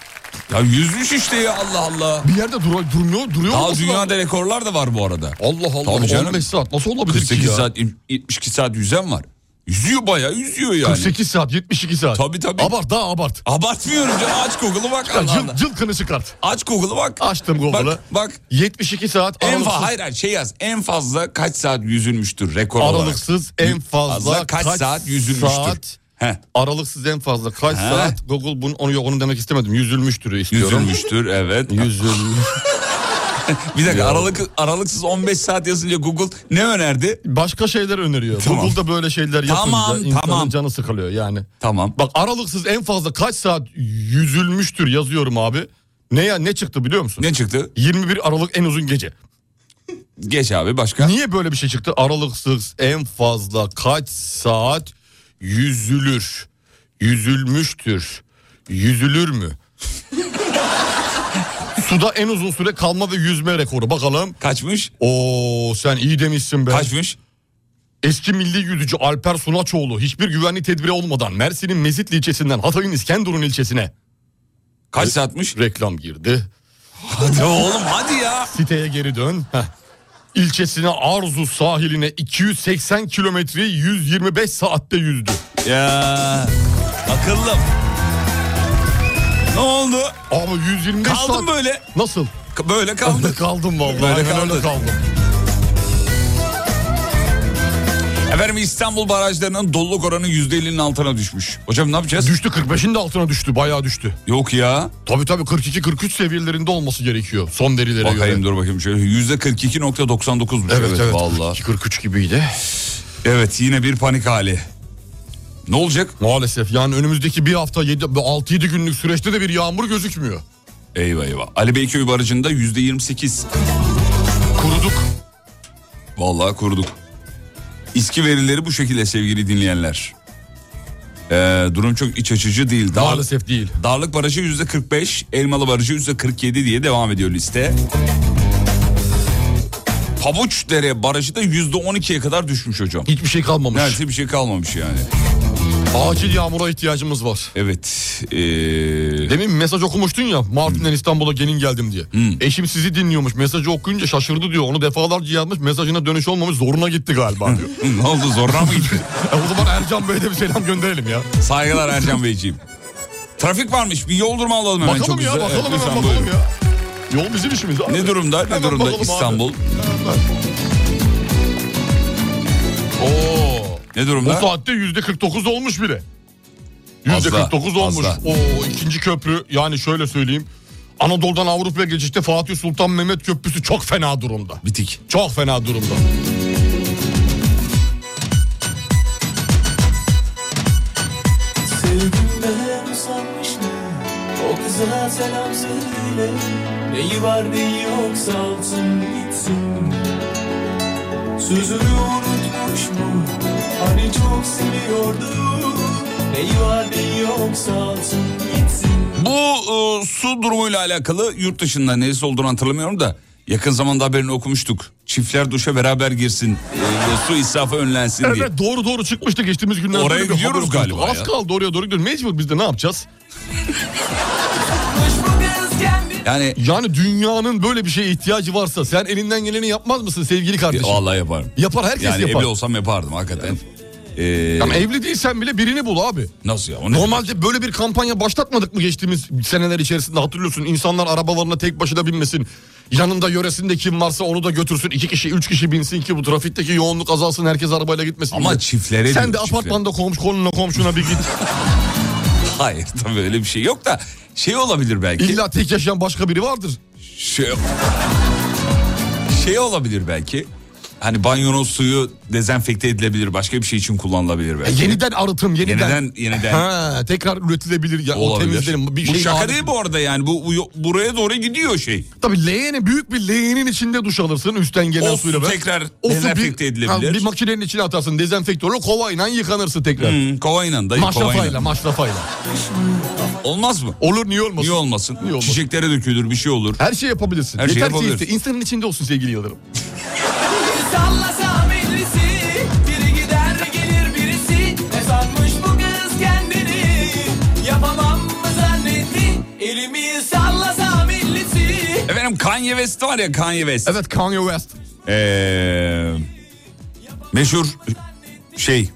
Speaker 2: Ya yüzmüş işte ya Allah Allah.
Speaker 3: Bir yerde dura, durmuyor, duruyor
Speaker 2: Daha
Speaker 3: olması lazım.
Speaker 2: dünyada rekorlar da var bu arada.
Speaker 3: Allah Allah
Speaker 2: Tabii canım.
Speaker 3: 15 saat nasıl olabilir ki
Speaker 2: 48
Speaker 3: ya?
Speaker 2: saat 72 saat yüzen var. Yüzüyor bayağı yüzüyor yani.
Speaker 3: 48 saat 72 saat.
Speaker 2: Tabii, tabii.
Speaker 3: Abart daha abart.
Speaker 2: Abartmıyorum canım aç Google'u bak
Speaker 3: Ya,
Speaker 2: Allah Allah.
Speaker 3: Cıl, cıl kını çıkart.
Speaker 2: Aç Google'u bak.
Speaker 3: Açtım Google'ı.
Speaker 2: Bak, bak
Speaker 3: 72 saat
Speaker 2: en
Speaker 3: aralıksız,
Speaker 2: fazla hayır hayır şey yaz. En fazla kaç saat yüzülmüştür rekor olarak.
Speaker 3: aralıksız en fazla,
Speaker 2: kaç, saat yüzülmüştür.
Speaker 3: saat-
Speaker 2: Heh,
Speaker 3: aralıksız en fazla kaç
Speaker 2: Ha.
Speaker 3: saat Google bunu onu yok onu demek istemedim. Yüzülmüştür istiyorum.
Speaker 2: yüzülmüştür evet.
Speaker 3: Yüzülmüş.
Speaker 2: Bir dakika aralık, aralıksız 15 saat yazınca Google ne önerdi?
Speaker 3: Başka şeyler öneriyor.
Speaker 2: Tamam.
Speaker 3: Google'da böyle şeyler yapınca
Speaker 2: Tamam,
Speaker 3: insanın
Speaker 2: tamam.
Speaker 3: canı sıkılıyor yani.
Speaker 2: Tamam.
Speaker 3: Bak aralıksız en fazla kaç saat yüzülmüştür yazıyorum abi. Ne ya ne çıktı biliyor musun?
Speaker 2: Ne çıktı?
Speaker 3: 21 Aralık en uzun gece.
Speaker 2: Geç abi başka.
Speaker 3: Niye böyle bir şey çıktı? Aralıksız en fazla kaç saat yüzülür? Yüzülmüştür. Yüzülür mü? Suda en uzun süre kalma ve yüzme rekoru. Bakalım.
Speaker 2: Kaçmış?
Speaker 3: Oo sen iyi demişsin be.
Speaker 2: Kaçmış?
Speaker 3: Eski milli yüzücü Alper Sunaçoğlu hiçbir güvenlik tedbiri olmadan Mersin'in Mezitli ilçesinden Hatay'ın İskenderun ilçesine
Speaker 2: Kaç saatmiş?
Speaker 3: reklam girdi.
Speaker 2: Hadi oğlum hadi ya.
Speaker 3: Siteye geri dön. Heh. İlçesine Arzu sahiline 280 kilometre 125 saatte yüzdü.
Speaker 2: Ya akıllım. Ne oldu?
Speaker 3: Abi 125
Speaker 2: Kaldım
Speaker 3: saat.
Speaker 2: böyle.
Speaker 3: Nasıl?
Speaker 2: K- Böyle
Speaker 3: Öyle
Speaker 2: kaldı.
Speaker 3: kaldım vallahi.
Speaker 2: Böyle
Speaker 3: Ben
Speaker 2: kaldın.
Speaker 3: öyle kaldım.
Speaker 2: Efendim İstanbul barajlarının doluluk oranı %50'nin altına düşmüş. Hocam ne yapacağız?
Speaker 3: Düştü 45'in de altına düştü. Bayağı düştü.
Speaker 2: Yok ya.
Speaker 3: Tabii tabii 42-43 seviyelerinde olması gerekiyor. Son verilere
Speaker 2: Bakayım
Speaker 3: göre.
Speaker 2: dur bakayım şöyle. %42.99'muş.
Speaker 3: Evet evet.
Speaker 2: Vallahi.
Speaker 3: 42-43 gibiydi.
Speaker 2: Evet yine bir panik hali. Ne olacak?
Speaker 3: Maalesef yani önümüzdeki bir hafta 6-7 günlük süreçte de bir yağmur gözükmüyor.
Speaker 2: Eyvah eyvah. Ali Beyköy barajında %28.
Speaker 3: Kuruduk.
Speaker 2: Vallahi kurduk. İSKİ verileri bu şekilde sevgili dinleyenler. Ee, durum çok iç açıcı değil. Dar-
Speaker 3: Maalesef değil.
Speaker 2: Darlık Barajı yüzde 45, Elmalı Barajı yüzde 47 diye devam ediyor liste. Pabuçdere Barajı da yüzde 12'ye kadar düşmüş hocam.
Speaker 3: Hiçbir şey kalmamış.
Speaker 2: Neredeyse bir şey kalmamış yani.
Speaker 3: Acil yağmura ihtiyacımız var.
Speaker 2: Evet. ee,
Speaker 3: Demin mesaj okumuştun ya
Speaker 2: Hmm.
Speaker 3: Mardin'den İstanbul'a gelin geldim diye. Eşim sizi dinliyormuş mesajı okuyunca şaşırdı diyor. Onu defalarca yazmış mesajına dönüş olmamış zoruna gitti galiba diyor.
Speaker 2: ne oldu zoruna mı gitti?
Speaker 3: E o zaman Ercan Bey'e de bir selam gönderelim ya.
Speaker 2: Saygılar Ercan Beyciğim. Trafik varmış bir yol durumu alalım hemen
Speaker 3: bakalım
Speaker 2: çok
Speaker 3: ya
Speaker 2: güzel.
Speaker 3: bakalım
Speaker 2: Evet, lütfen
Speaker 3: hemen
Speaker 2: buyurun.
Speaker 3: bakalım ya. Yol bizim işimiz abi.
Speaker 2: Ne durumda? Ne
Speaker 3: Hemen
Speaker 2: durumda
Speaker 3: bakalım abi.
Speaker 2: İstanbul?
Speaker 3: Oo.
Speaker 2: Ne
Speaker 3: Bu
Speaker 2: durumda?
Speaker 3: saatte yüzde 49 olmuş bile. Yüzde
Speaker 2: Fazla,
Speaker 3: 49 olmuş.
Speaker 2: fazla.
Speaker 3: Oo, ikinci köprü yani şöyle söyleyeyim. Anadolu'dan Avrupa'ya geçişte Fatih Sultan Mehmet Köprüsü çok fena durumda.
Speaker 2: Bitik.
Speaker 3: Çok fena durumda.
Speaker 1: sanmış mı? O kıza selam söyle Neyi var neyi yok salsın gitsin Sözünü unutmuş mu? Hani çok seviyordu Neyi var neyi yok salsın gitsin
Speaker 2: Bu e, su durumuyla alakalı yurt dışında neresi olduğunu hatırlamıyorum da yakın zamanda haberini okumuştuk. Çiftler duşa beraber girsin, e, ve su israfı önlensin diye.
Speaker 3: Evet doğru doğru çıkmıştı geçtiğimiz günlerde.
Speaker 2: Oraya
Speaker 3: bir haber
Speaker 2: gidiyoruz
Speaker 3: okumuştuk.
Speaker 2: galiba
Speaker 3: Az
Speaker 2: ya.
Speaker 3: kaldı oraya doğru gidiyoruz. Mecbur biz de ne yapacağız?
Speaker 2: Yani
Speaker 3: Yani dünyanın böyle bir şeye ihtiyacı varsa sen elinden geleni yapmaz mısın sevgili kardeşim?
Speaker 2: vallahi yaparım.
Speaker 3: Yapar herkes
Speaker 2: Yani
Speaker 3: yapar.
Speaker 2: evli olsam yapardım hakikaten. Ee,
Speaker 3: Ama evli değilsen bile birini bul abi.
Speaker 2: nasıl ya? O ne-
Speaker 3: Normalde böyle bir kampanya başlatmadık mı geçtiğimiz seneler içerisinde hatırlıyorsun insanlar arabalarına tek başına binmesin. Yanında yöresinde kim varsa onu da götürsün. iki kişi üç kişi binsin ki bu trafikteki yoğunluk azalsın herkes arabayla gitmesin.
Speaker 2: Ama
Speaker 3: diye.
Speaker 2: çiftlere
Speaker 3: Sen
Speaker 2: diyor,
Speaker 3: de
Speaker 2: çiftlere.
Speaker 3: apartmanda komşu konuna komşuna bir git.
Speaker 2: Hayır tabii öyle bir şey yok da şey olabilir belki.
Speaker 3: İlla tek yaşayan başka biri vardır.
Speaker 2: Şey, şey olabilir belki. Hani banyonun suyu dezenfekte edilebilir. Başka bir şey için kullanılabilir
Speaker 3: E,
Speaker 2: belki.
Speaker 3: yeniden arıtım yeniden.
Speaker 2: Yeniden yeniden.
Speaker 3: Ha, tekrar üretilebilir. Ya, o
Speaker 2: Olabilir.
Speaker 3: temizlerim. Bir
Speaker 2: bu
Speaker 3: şey
Speaker 2: şaka
Speaker 3: vardır.
Speaker 2: değil bu arada yani. Bu, bu- buraya doğru gidiyor şey.
Speaker 3: Tabii leğeni büyük bir leğenin içinde duş alırsın üstten gelen
Speaker 2: O su
Speaker 3: suyla. be.
Speaker 2: tekrar
Speaker 3: su bir-
Speaker 2: dezenfekte edilebilir.
Speaker 3: Ha, bir makinenin içine atarsın dezenfektörle kovayla yıkanırsın tekrar.
Speaker 2: Hmm, kovayla dayı
Speaker 3: Maşrafayla
Speaker 2: kovayla.
Speaker 3: maşrafayla.
Speaker 2: Olmaz mı?
Speaker 3: Olur niye olmasın?
Speaker 2: Niye olmasın?
Speaker 3: Niye olmasın?
Speaker 2: Çiçeklere dökülür bir şey olur.
Speaker 3: Her şey yapabilirsin.
Speaker 2: Her şey
Speaker 3: Yeter ki
Speaker 2: yapabiliriz.
Speaker 3: iste. insanın içinde olsun sevgili Yıldırım.
Speaker 1: Sallasam ellisi Biri gider gelir birisi Ne sanmış bu kız kendini Yapamam mı zannetti Elimi sallasam ellisi
Speaker 2: Efendim Kanye West var ya Kanye West.
Speaker 3: Evet Kanye West.
Speaker 2: Ee, meşhur şey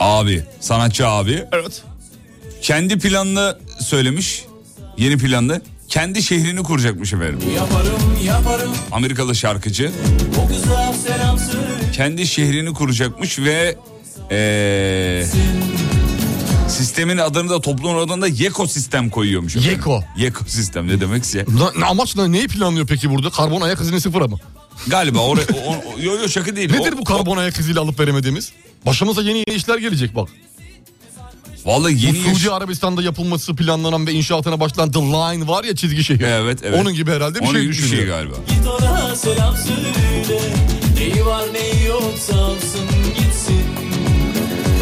Speaker 2: abi sanatçı abi
Speaker 3: Evet.
Speaker 2: kendi planını söylemiş yeni planını kendi şehrini kuracakmış efendim.
Speaker 1: Yaparım yaparım
Speaker 2: Amerikalı şarkıcı
Speaker 1: o kıza selam söyle
Speaker 2: kendi şehrini kuracakmış ve ee, sistemin adını da toplumun adını da Yeko sistem koyuyormuş. efendim.
Speaker 3: Yeko.
Speaker 2: Yeko sistem ne demekse.
Speaker 3: Na, na- amaç ne? Neyi planlıyor peki burada? Karbon ayak izini sıfıra mı?
Speaker 2: Galiba oraya o, o- yo yo şaka değil.
Speaker 3: Nedir
Speaker 2: O-
Speaker 3: bu karbon ayak iziyle alıp veremediğimiz? Başımıza yeni yeni işler gelecek bak.
Speaker 2: Vallahi yeni
Speaker 3: bu Suudi
Speaker 2: yaş-
Speaker 3: Arabistan'da yapılması planlanan ve inşaatına başlanan The Line var ya çizgi şehir.
Speaker 2: Evet, evet.
Speaker 3: Onun gibi herhalde bir
Speaker 2: Onun
Speaker 3: şey
Speaker 2: gibi
Speaker 3: düşünüyor.
Speaker 2: galiba.
Speaker 1: Git ona selam söyle Neyi var neyi yok salsın gitsin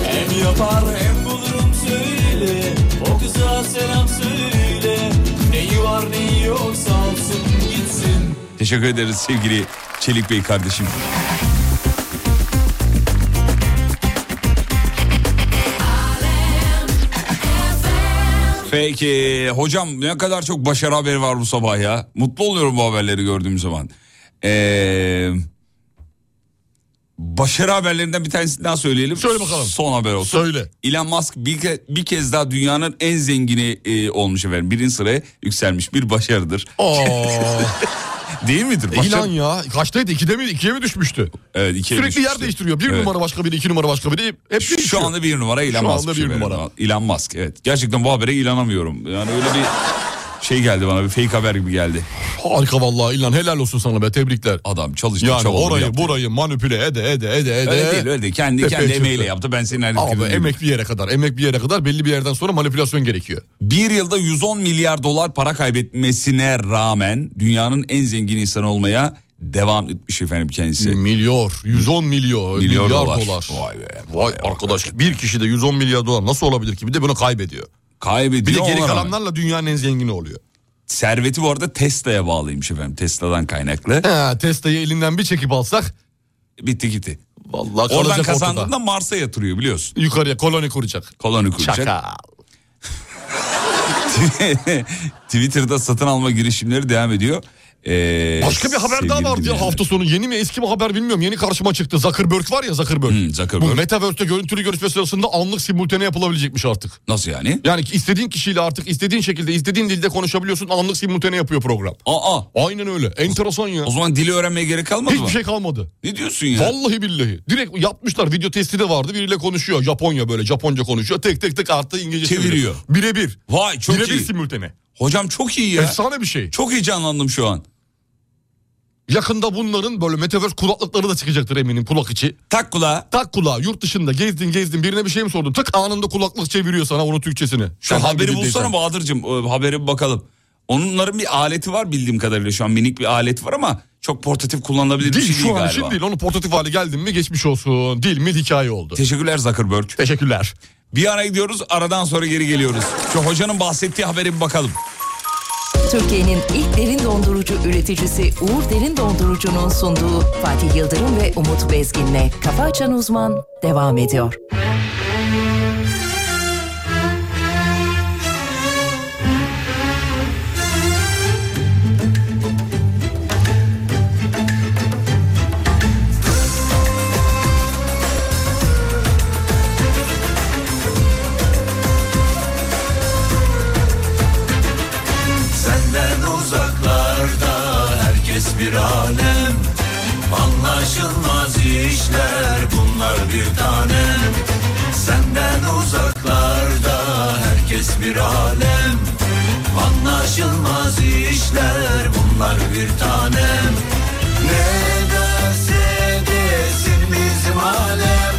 Speaker 1: Hem yapar hem bulurum söyle O kıza selam söyle Neyi var neyi yok salsın gitsin
Speaker 2: Teşekkür ederiz sevgili Çelik Bey kardeşim. Peki hocam ne kadar çok başarı haberi var bu sabah ya. Mutlu oluyorum bu haberleri gördüğüm zaman. Ee, başarı haberlerinden bir tanesini daha söyleyelim.
Speaker 3: Söyle bakalım.
Speaker 2: Son haber olsun.
Speaker 3: Söyle.
Speaker 2: Elon Musk bir, ke- bir kez daha dünyanın en zengini e, olmuş efendim. Birinci sıraya yükselmiş bir başarıdır.
Speaker 3: Aa,
Speaker 2: Değil midir?
Speaker 3: İlan
Speaker 2: Başarı-
Speaker 3: ya. Kaçtaydı? İkide mi? İkiye mi düşmüştü?
Speaker 2: Evet, ikiye
Speaker 3: Sürekli
Speaker 2: düşmüştü.
Speaker 3: yer değiştiriyor. Bir
Speaker 2: Evet.
Speaker 3: numara başka biri, iki numara başka biri. Hep değişiyor.
Speaker 2: Şu anda bir numara Elon
Speaker 3: Şu
Speaker 2: Musk.
Speaker 3: anda bir
Speaker 2: efendim.
Speaker 3: numara.
Speaker 2: Elon Musk evet. Gerçekten bu habere inanamıyorum. Yani öyle bir şey geldi bana bir fake haber gibi geldi.
Speaker 3: Harika vallahi İlhan helal olsun sana be tebrikler.
Speaker 2: Adam çalıştı
Speaker 3: Yani
Speaker 2: çabaladı
Speaker 3: orayı
Speaker 2: yaptı.
Speaker 3: burayı manipüle ede ede ede ede.
Speaker 2: Öyle değil öyle değil. Kendi,
Speaker 3: Tepeye
Speaker 2: kendi
Speaker 3: çıktı.
Speaker 2: emeğiyle yaptı. Ben senin her
Speaker 3: Abi
Speaker 2: dediğin gibi.
Speaker 3: emek bir yere kadar emek bir yere kadar belli bir yerden sonra manipülasyon gerekiyor.
Speaker 2: Bir yılda 110 milyar dolar para kaybetmesine rağmen dünyanın en zengin insanı olmaya devam etmiş efendim kendisi.
Speaker 3: Milyar 110 milyon milyar,
Speaker 2: Milyar dolar.
Speaker 3: dolar.
Speaker 2: Vay be,
Speaker 3: Vay arkadaş bir kişi de 110 milyar dolar nasıl olabilir ki bir de bunu kaybediyor.
Speaker 2: Kaybediyor
Speaker 3: Bir de geri
Speaker 2: ona rağmen.
Speaker 3: kalanlarla dünyanın en zengini oluyor.
Speaker 2: Serveti bu arada Tesla'ya bağlıymış efendim. Tesla'dan kaynaklı.
Speaker 3: He, Tesla'yı elinden bir çekip alsak
Speaker 2: Bitti gitti.
Speaker 3: vallahi kalacak
Speaker 2: Oradan
Speaker 3: ortada.
Speaker 2: kazandığında Mars'a yatırıyor biliyorsun.
Speaker 3: Yukarıya koloni kuracak.
Speaker 2: Kolonu kuracak.
Speaker 3: Çakal.
Speaker 2: Twitter'da satın alma girişimleri devam ediyor. Ee,
Speaker 3: Başka bir haber daha
Speaker 2: sevgili
Speaker 3: vardı ya
Speaker 2: dinleyenler.
Speaker 3: hafta sonu. Yeni mi eski mi haber bilmiyorum. Yeni karşıma çıktı. Zuckerberg var ya Zuckerberg.
Speaker 2: Hmm, Zuckerberg.
Speaker 3: Bu Metaverse'te görüntülü görüşme sırasında anlık simultane yapılabilecekmiş artık.
Speaker 2: Nasıl yani?
Speaker 3: Yani istediğin kişiyle artık istediğin şekilde istediğin dilde konuşabiliyorsun. Anlık simultane yapıyor program.
Speaker 2: Aa,
Speaker 3: Aynen öyle. Enteresan ya.
Speaker 2: o zaman dili öğrenmeye gerek kalmadı
Speaker 3: Hiçbir
Speaker 2: mı?
Speaker 3: şey kalmadı.
Speaker 2: Ne diyorsun ya?
Speaker 3: Vallahi billahi. Direkt yapmışlar. Video testi de vardı. Biriyle konuşuyor. Japonya böyle. Japonca konuşuyor. Tek tek tek artı İngilizce
Speaker 2: Çeviriyor.
Speaker 3: Birebir.
Speaker 2: Vay çok
Speaker 3: Birebir
Speaker 2: iyi.
Speaker 3: simultane.
Speaker 2: Hocam çok iyi ya.
Speaker 3: Efsane bir şey.
Speaker 2: Çok heyecanlandım şu an.
Speaker 3: Yakında bunların böyle metaverse kulaklıkları da çıkacaktır eminim kulak içi.
Speaker 2: Tak kulağa.
Speaker 3: Tak kulağı yurt dışında gezdin gezdin birine bir şey mi sordun? Tık anında kulaklık çeviriyor sana onun Türkçesini.
Speaker 2: Şu
Speaker 3: Herhangi
Speaker 2: haberi
Speaker 3: bir
Speaker 2: bulsana
Speaker 3: dilden.
Speaker 2: Bahadır'cığım. e, Haberi bir bakalım. Onların bir aleti var bildiğim kadarıyla şu an minik bir alet var ama çok portatif kullanılabilir bir
Speaker 3: Değil
Speaker 2: şey
Speaker 3: şu
Speaker 2: değil
Speaker 3: an
Speaker 2: galiba.
Speaker 3: için değil. Onun portatif hali geldin mi geçmiş olsun. Değil mi hikaye oldu.
Speaker 2: Teşekkürler Zuckerberg.
Speaker 3: Teşekkürler.
Speaker 2: Bir ara gidiyoruz aradan sonra geri geliyoruz. Şu hocanın bahsettiği haberi bir bakalım.
Speaker 6: Türkiye'nin ilk derin dondurucu üreticisi Uğur Derin Dondurucu'nun sunduğu Fatih Yıldırım ve Umut Bezgin'le Kafa Açan Uzman devam ediyor.
Speaker 8: Senden uzaklarda herkes bir alem Anlaşılmaz işler bunlar bir tanem Senden uzaklarda herkes bir alem Anlaşılmaz işler bunlar bir tanem Ne derse desin bizim alem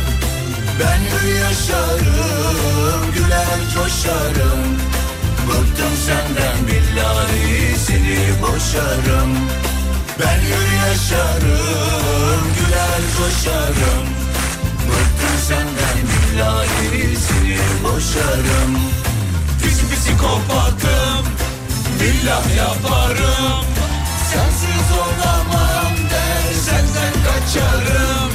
Speaker 8: Ben yaşarım güler coşarım Bıktım senden billahi seni boşarım Ben yürü yaşarım güler koşarım Bıktım senden billahi seni boşarım Pis psikopatım billah yaparım Sensiz olamam der senden kaçarım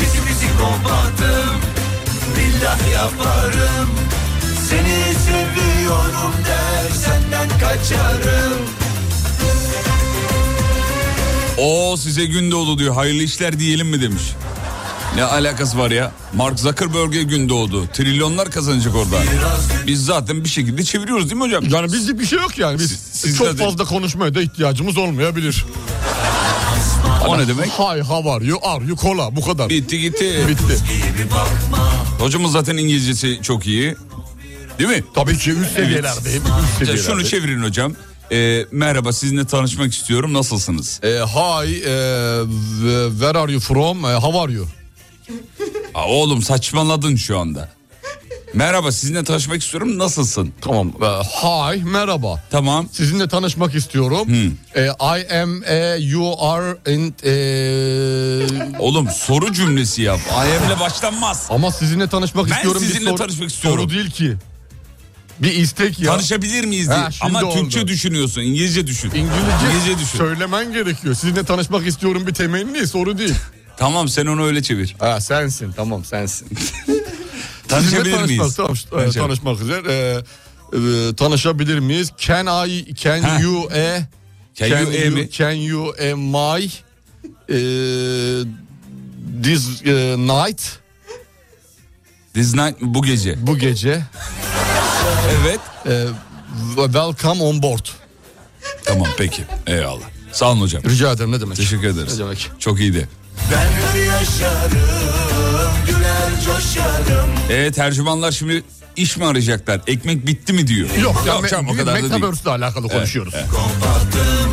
Speaker 8: Pis psikopatım billah yaparım seni seviyorum der senden kaçarım
Speaker 2: O size gün doğdu diyor. Hayırlı işler diyelim mi demiş. Ne alakası var ya? Mark Zuckerberg'e gün doğdu. Trilyonlar kazanacak orada. Biz zaten bir şekilde çeviriyoruz değil mi hocam?
Speaker 3: Yani bizde bir şey yok yani. Biz
Speaker 2: Siz- sizde
Speaker 3: çok
Speaker 2: değil.
Speaker 3: fazla konuşmaya da ihtiyacımız olmayabilir.
Speaker 2: O ne demek?
Speaker 3: Hi how are you? Are you cola? Bu kadar.
Speaker 2: Bitti gitti.
Speaker 3: Bitti.
Speaker 2: Hocamız zaten İngilizcesi çok iyi. Değil mi?
Speaker 3: Tabii ki üst seviyelerdeyim. Üst
Speaker 2: Ya
Speaker 3: seviyelerde.
Speaker 2: şunu çevirin hocam. Ee, merhaba sizinle tanışmak istiyorum. Nasılsınız?
Speaker 3: E, hi, e, w- where are you from? E, how are you?
Speaker 2: Aa, oğlum saçmaladın şu anda. Merhaba sizinle tanışmak istiyorum. Nasılsın?
Speaker 3: Tamam. e, hi, merhaba.
Speaker 2: Tamam.
Speaker 3: Sizinle tanışmak istiyorum. E, I am, e, you are, and, e,
Speaker 2: Oğlum soru cümlesi yap. IM'le başlanmaz.
Speaker 3: ama sizinle tanışmak
Speaker 2: Ben
Speaker 3: istiyorum. bir
Speaker 2: sizinle
Speaker 3: sor-
Speaker 2: tanışmak istiyorum.
Speaker 3: Soru değil ki. Bir istek ya.
Speaker 2: Tanışabilir miyiz diye.
Speaker 3: Ha, şimdi
Speaker 2: Ama
Speaker 3: oldu.
Speaker 2: Türkçe düşünüyorsun. İngilizce düşün.
Speaker 3: İngilizce,
Speaker 2: düşün.
Speaker 3: söylemen gerekiyor. Sizinle tanışmak istiyorum bir temenni soru değil.
Speaker 2: Tamam sen onu öyle çevir.
Speaker 3: Ha sensin tamam sensin. Sizinle
Speaker 2: Tanışabilir
Speaker 3: tanışmak,
Speaker 2: miyiz?
Speaker 3: tamam, e,
Speaker 2: Bence.
Speaker 3: tanışmak üzere. E, e, tanışabilir miyiz? Can I, can
Speaker 2: Ha.
Speaker 3: you, e,
Speaker 2: Can you, e mi?
Speaker 3: Can you, e, my, e, this e, night,
Speaker 2: This night bu gece.
Speaker 3: bu gece,
Speaker 2: Evet.
Speaker 3: e, welcome on board.
Speaker 2: Tamam peki. Eyvallah. Sağ olun hocam.
Speaker 3: Rica ederim ne demek?
Speaker 2: Teşekkür ederiz.
Speaker 3: Ne demek?
Speaker 2: Çok iyiydi.
Speaker 8: Ben hür yaşarım güler coşarım
Speaker 2: E, tercümanlar şimdi iş mi arayacaklar? Ekmek bitti mi diyor.
Speaker 3: Yok, ya, me-
Speaker 2: canım, o kadar da değil.
Speaker 3: Metaverse'le alakalı konuşuyoruz.
Speaker 8: Kompattım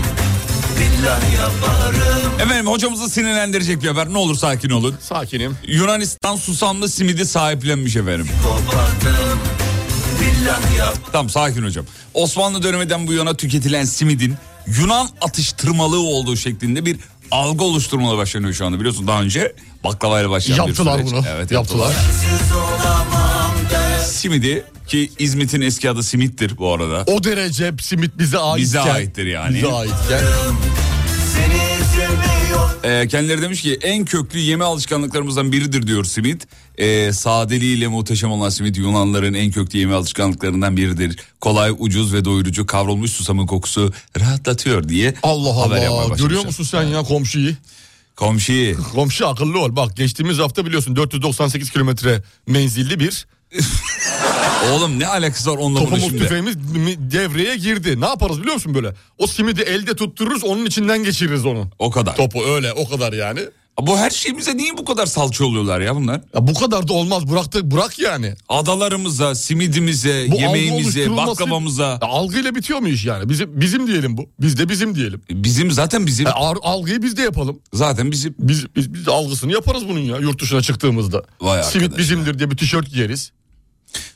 Speaker 8: billah yaparım
Speaker 2: Efendim hocamızı sinirlendirecek bir haber. Ne olur sakin olun.
Speaker 3: Sakinim.
Speaker 2: Yunanistan susamlı simidi sahiplenmiş efendim.
Speaker 8: Kompattım billah yaparım
Speaker 2: Tamam sakin hocam. Osmanlı döneminden bu yana tüketilen simidin Yunan atıştırmalığı olduğu şeklinde bir algı oluşturmaya başlanıyor şu anda. Biliyorsun daha önce baklavayla başlayan bir
Speaker 3: Yaptılar
Speaker 2: süreç.
Speaker 3: bunu.
Speaker 2: Evet,
Speaker 3: yaptılar.
Speaker 8: Siz olamam der
Speaker 2: Simidi ki İzmit'in eski adı Simit'tir bu arada.
Speaker 3: O derece simit bize aitken.
Speaker 2: Bize aittir yani.
Speaker 3: Bize aitken.
Speaker 8: Seni seviyorum
Speaker 2: Ee, kendileri demiş ki en köklü yeme alışkanlıklarımızdan biridir diyor simit. Ee, sadeliğiyle muhteşem olan simit Yunanların en köklü yeme alışkanlıklarından biridir. Kolay, ucuz ve doyurucu kavrulmuş susamın kokusu rahatlatıyor diye
Speaker 3: Allah
Speaker 2: haber yapmaya
Speaker 3: Allah.
Speaker 2: başlamışlar.
Speaker 3: Görüyor musun sen ya komşuyu?
Speaker 2: Komşi
Speaker 3: Komşu akıllı ol. Bak geçtiğimiz hafta biliyorsun 498 kilometre menzilli bir
Speaker 2: oğlum ne alakası var onunla bunun
Speaker 3: topumuz
Speaker 2: şimdi?
Speaker 3: tüfeğimiz mi- devreye girdi. Ne yaparız biliyor musun böyle? O simidi elde tuttururuz onun içinden geçiririz onu.
Speaker 2: O kadar.
Speaker 3: Topu öyle o kadar yani.
Speaker 2: Bu her şeyimize niye bu kadar salça oluyorlar ya bunlar?
Speaker 3: Ya bu kadar da olmaz bıraktı bırak yani.
Speaker 2: Adalarımıza, simidimize,
Speaker 3: Bu algı
Speaker 2: yemeğimize,
Speaker 3: oluşturulması-
Speaker 2: baklavamıza.
Speaker 3: Ya algıyla bitiyor mu iş yani? Bizim, bizim diyelim bu. Biz de bizim diyelim.
Speaker 2: Bizim zaten bizim.
Speaker 3: Ya ar- algıyı biz de yapalım.
Speaker 2: Zaten bizim.
Speaker 3: Biz, biz, biz de algısını yaparız bunun ya yurt dışına çıktığımızda.
Speaker 2: Vay
Speaker 3: Simit
Speaker 2: arkadaş
Speaker 3: bizimdir diye bir tişört giyeriz.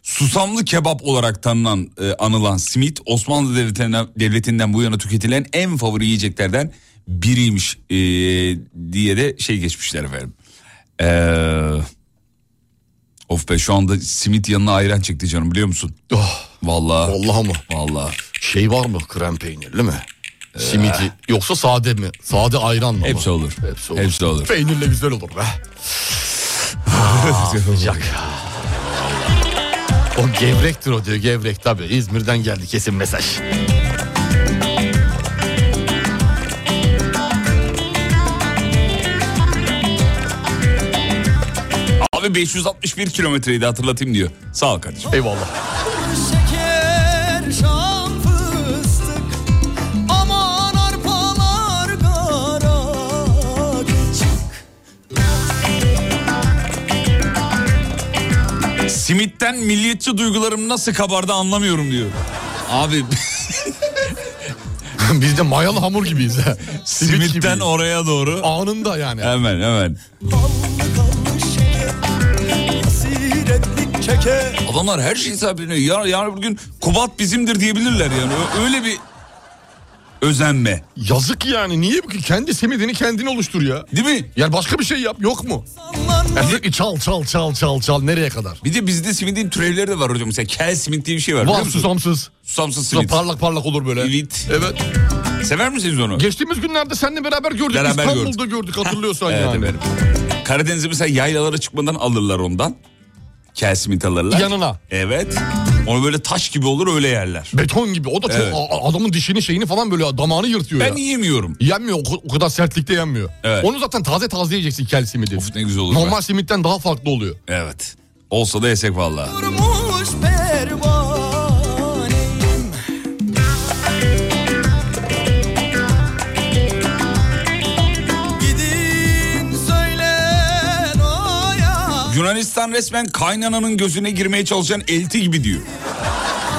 Speaker 2: Susamlı kebap olarak tanınan, e, anılan simit Osmanlı Devleti'nden, devletinden bu yana tüketilen en favori yiyeceklerden biriymiş e, diye de şey geçmişler efendim. Ee, of be şu anda simit yanına ayran çekti canım biliyor musun?
Speaker 3: Oh,
Speaker 2: Vallahi.
Speaker 3: Vallahi mı?
Speaker 2: Vallahi.
Speaker 3: şey var mı krem peynirli mi? Simiti yoksa sade mi? Sade ayran mı?
Speaker 2: Ee. Hepsi
Speaker 3: bu?
Speaker 2: olur.
Speaker 3: Hepsi olur.
Speaker 2: Hepsi olur.
Speaker 3: Peynirle güzel olur be. Sıcak. O gevrektir o diyor gevrek tabii. İzmir'den geldi kesin mesaj.
Speaker 2: Abi 561 kilometreydi hatırlatayım diyor. Sağ ol kardeşim.
Speaker 3: Eyvallah.
Speaker 1: Şeker, şam, fıstık Aman arpalar kara
Speaker 2: Simitten milliyetçi duygularım nasıl kabardı anlamıyorum diyor. Abi
Speaker 3: Biz de mayalı hamur gibiyiz. ha. Simit
Speaker 2: simitten
Speaker 3: gibiyiz.
Speaker 2: oraya doğru.
Speaker 3: Anında yani.
Speaker 2: Hemen hemen.
Speaker 1: Ballı kalmış şeker Asiretlik çeker
Speaker 2: Adamlar her şeyi sahipleniyor. Yar, yarın bir gün Kubat bizimdir diyebilirler yani. Ö- Öyle bir özenme.
Speaker 3: Yazık yani. Niye bu- kendi simidini kendin oluştur ya?
Speaker 2: Değil mi?
Speaker 3: Yani başka bir şey yap. Yok mu?
Speaker 1: Sallanmış
Speaker 3: Ya sürekli çal çal çal çal çal. Nereye kadar?
Speaker 2: Bir de bizde simidin türevleri de var hocam. Mesela kel simit diye bir şey var. biliyor
Speaker 3: Var
Speaker 2: musun?
Speaker 3: susamsız.
Speaker 2: Susamsız simit.
Speaker 3: Parlak parlak olur böyle.
Speaker 2: Evet.
Speaker 3: Evet.
Speaker 2: Sever misiniz onu?
Speaker 3: Geçtiğimiz günlerde seninle beraber gördük.
Speaker 2: Beraber
Speaker 3: İstanbul'da gördük, hatırlıyorsan
Speaker 2: Evet
Speaker 3: yani.
Speaker 2: efendim. Karadeniz'e mesela yaylalara çıkmadan alırlar ondan. Kel simit alırlar.
Speaker 3: Yanına.
Speaker 2: Evet. Onu böyle taş gibi olur öyle yerler.
Speaker 3: Beton gibi. O da çok
Speaker 2: Evet.
Speaker 3: a- a- adamın dişini şeyini falan böyle damağını yırtıyor
Speaker 2: Ben
Speaker 3: ya.
Speaker 2: yiyemiyorum.
Speaker 3: Yenmiyor o, ko- o kadar sertlikte yenmiyor.
Speaker 2: Evet.
Speaker 3: Onu zaten taze taze yiyeceksin kel simidi.
Speaker 2: Of ne güzel olur. be.
Speaker 3: Normal simitten daha farklı oluyor.
Speaker 2: Evet. Olsa da yesek valla.
Speaker 1: durmuş pervaneyim Gidin söyle Noya
Speaker 2: Yunanistan resmen kaynananın gözüne girmeye çalışan elti gibi diyor.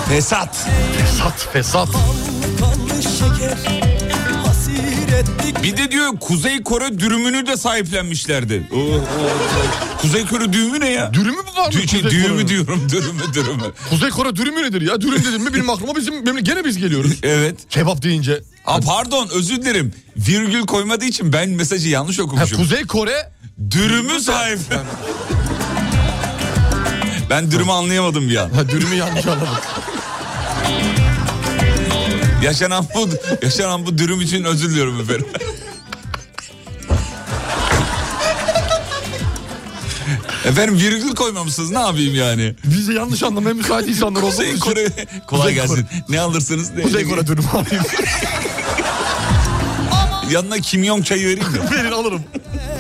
Speaker 2: Fesat.
Speaker 3: Fesat fesat.
Speaker 1: Ballı kanlı şeker Hasiretlik
Speaker 2: Bir de diyor Kuzey Kore dürümünü de sahiplenmişlerdi. Oo, oo, oo. Kuzey Kore düğümü ne ya?
Speaker 3: Dürümü mü var
Speaker 2: Dü-
Speaker 3: mı?
Speaker 2: şey,
Speaker 3: Kuzey Kore'nin?
Speaker 2: düğümü diyorum, dürümü, dürümü.
Speaker 3: Kuzey Kore dürümü nedir ya? Dürüm dedim mi benim aklıma bizim memle- gene biz geliyoruz.
Speaker 2: Evet.
Speaker 3: Kebap deyince.
Speaker 2: Ha, pardon özür dilerim. Virgül koymadığı için ben mesajı yanlış
Speaker 3: Ha,
Speaker 2: okumuşum.
Speaker 3: Kuzey Kore
Speaker 2: Dürümü sahip. ben dürümü anlayamadım bir an.
Speaker 3: Ha, dürümü yanlış anladık.
Speaker 2: Yaşanan bu, yaşanan bu dürüm için özür diliyorum efendim. efendim virgül koymamışsınız ne yapayım yani?
Speaker 3: Bizi yanlış anlamaya müsait insanlar olduğumuz
Speaker 2: Kuzey
Speaker 3: için-
Speaker 2: Kore kolay
Speaker 3: Kuzey
Speaker 2: gelsin.
Speaker 3: Kore.
Speaker 2: Ne alırsınız ne?
Speaker 3: Kuzey Kore dürümü alayım.
Speaker 2: Yanına kimyon çayı vereyim mi?
Speaker 3: Verin alırım.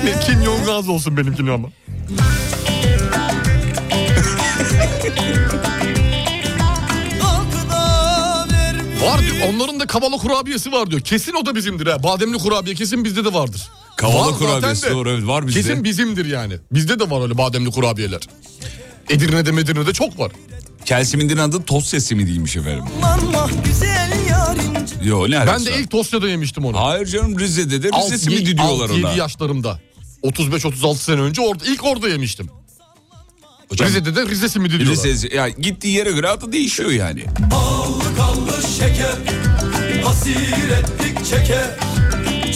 Speaker 3: Ne, Kim Jong razı olsun benimkini ama.
Speaker 1: Halkına vermiş
Speaker 3: Var diyor. Onların da kavala kurabiyesi var diyor. Kesin o da bizimdir ha. Bademli kurabiye kesin bizde de vardır.
Speaker 2: Kavala
Speaker 3: Var zaten
Speaker 2: kurabiyesi
Speaker 3: de.
Speaker 2: doğru, evet, var bizde.
Speaker 3: Kesin bizimdir yani. Bizde de var öyle bademli kurabiyeler. Edirne'de Medirne'de çok var.
Speaker 2: Kelsimindin adı tosya simidiymiş efendim.
Speaker 1: Aman mah güzel yarim
Speaker 2: Yo ne
Speaker 3: Ben
Speaker 2: alakası
Speaker 3: de
Speaker 2: var?
Speaker 3: ilk Tosya'da yemiştim onu.
Speaker 2: Hayır canım Rize'de de Rize simidi diyorlar ona.
Speaker 3: 7 yaşlarımda. 35-36 sene önce orada ilk orada yemiştim.
Speaker 2: Hocam,
Speaker 3: Rize'de de Rize simidi diyorlar.
Speaker 2: Rize, ya gittiği yere göre adı değişiyor yani.
Speaker 1: Ballı kanlı şeker Hasiretlik çeker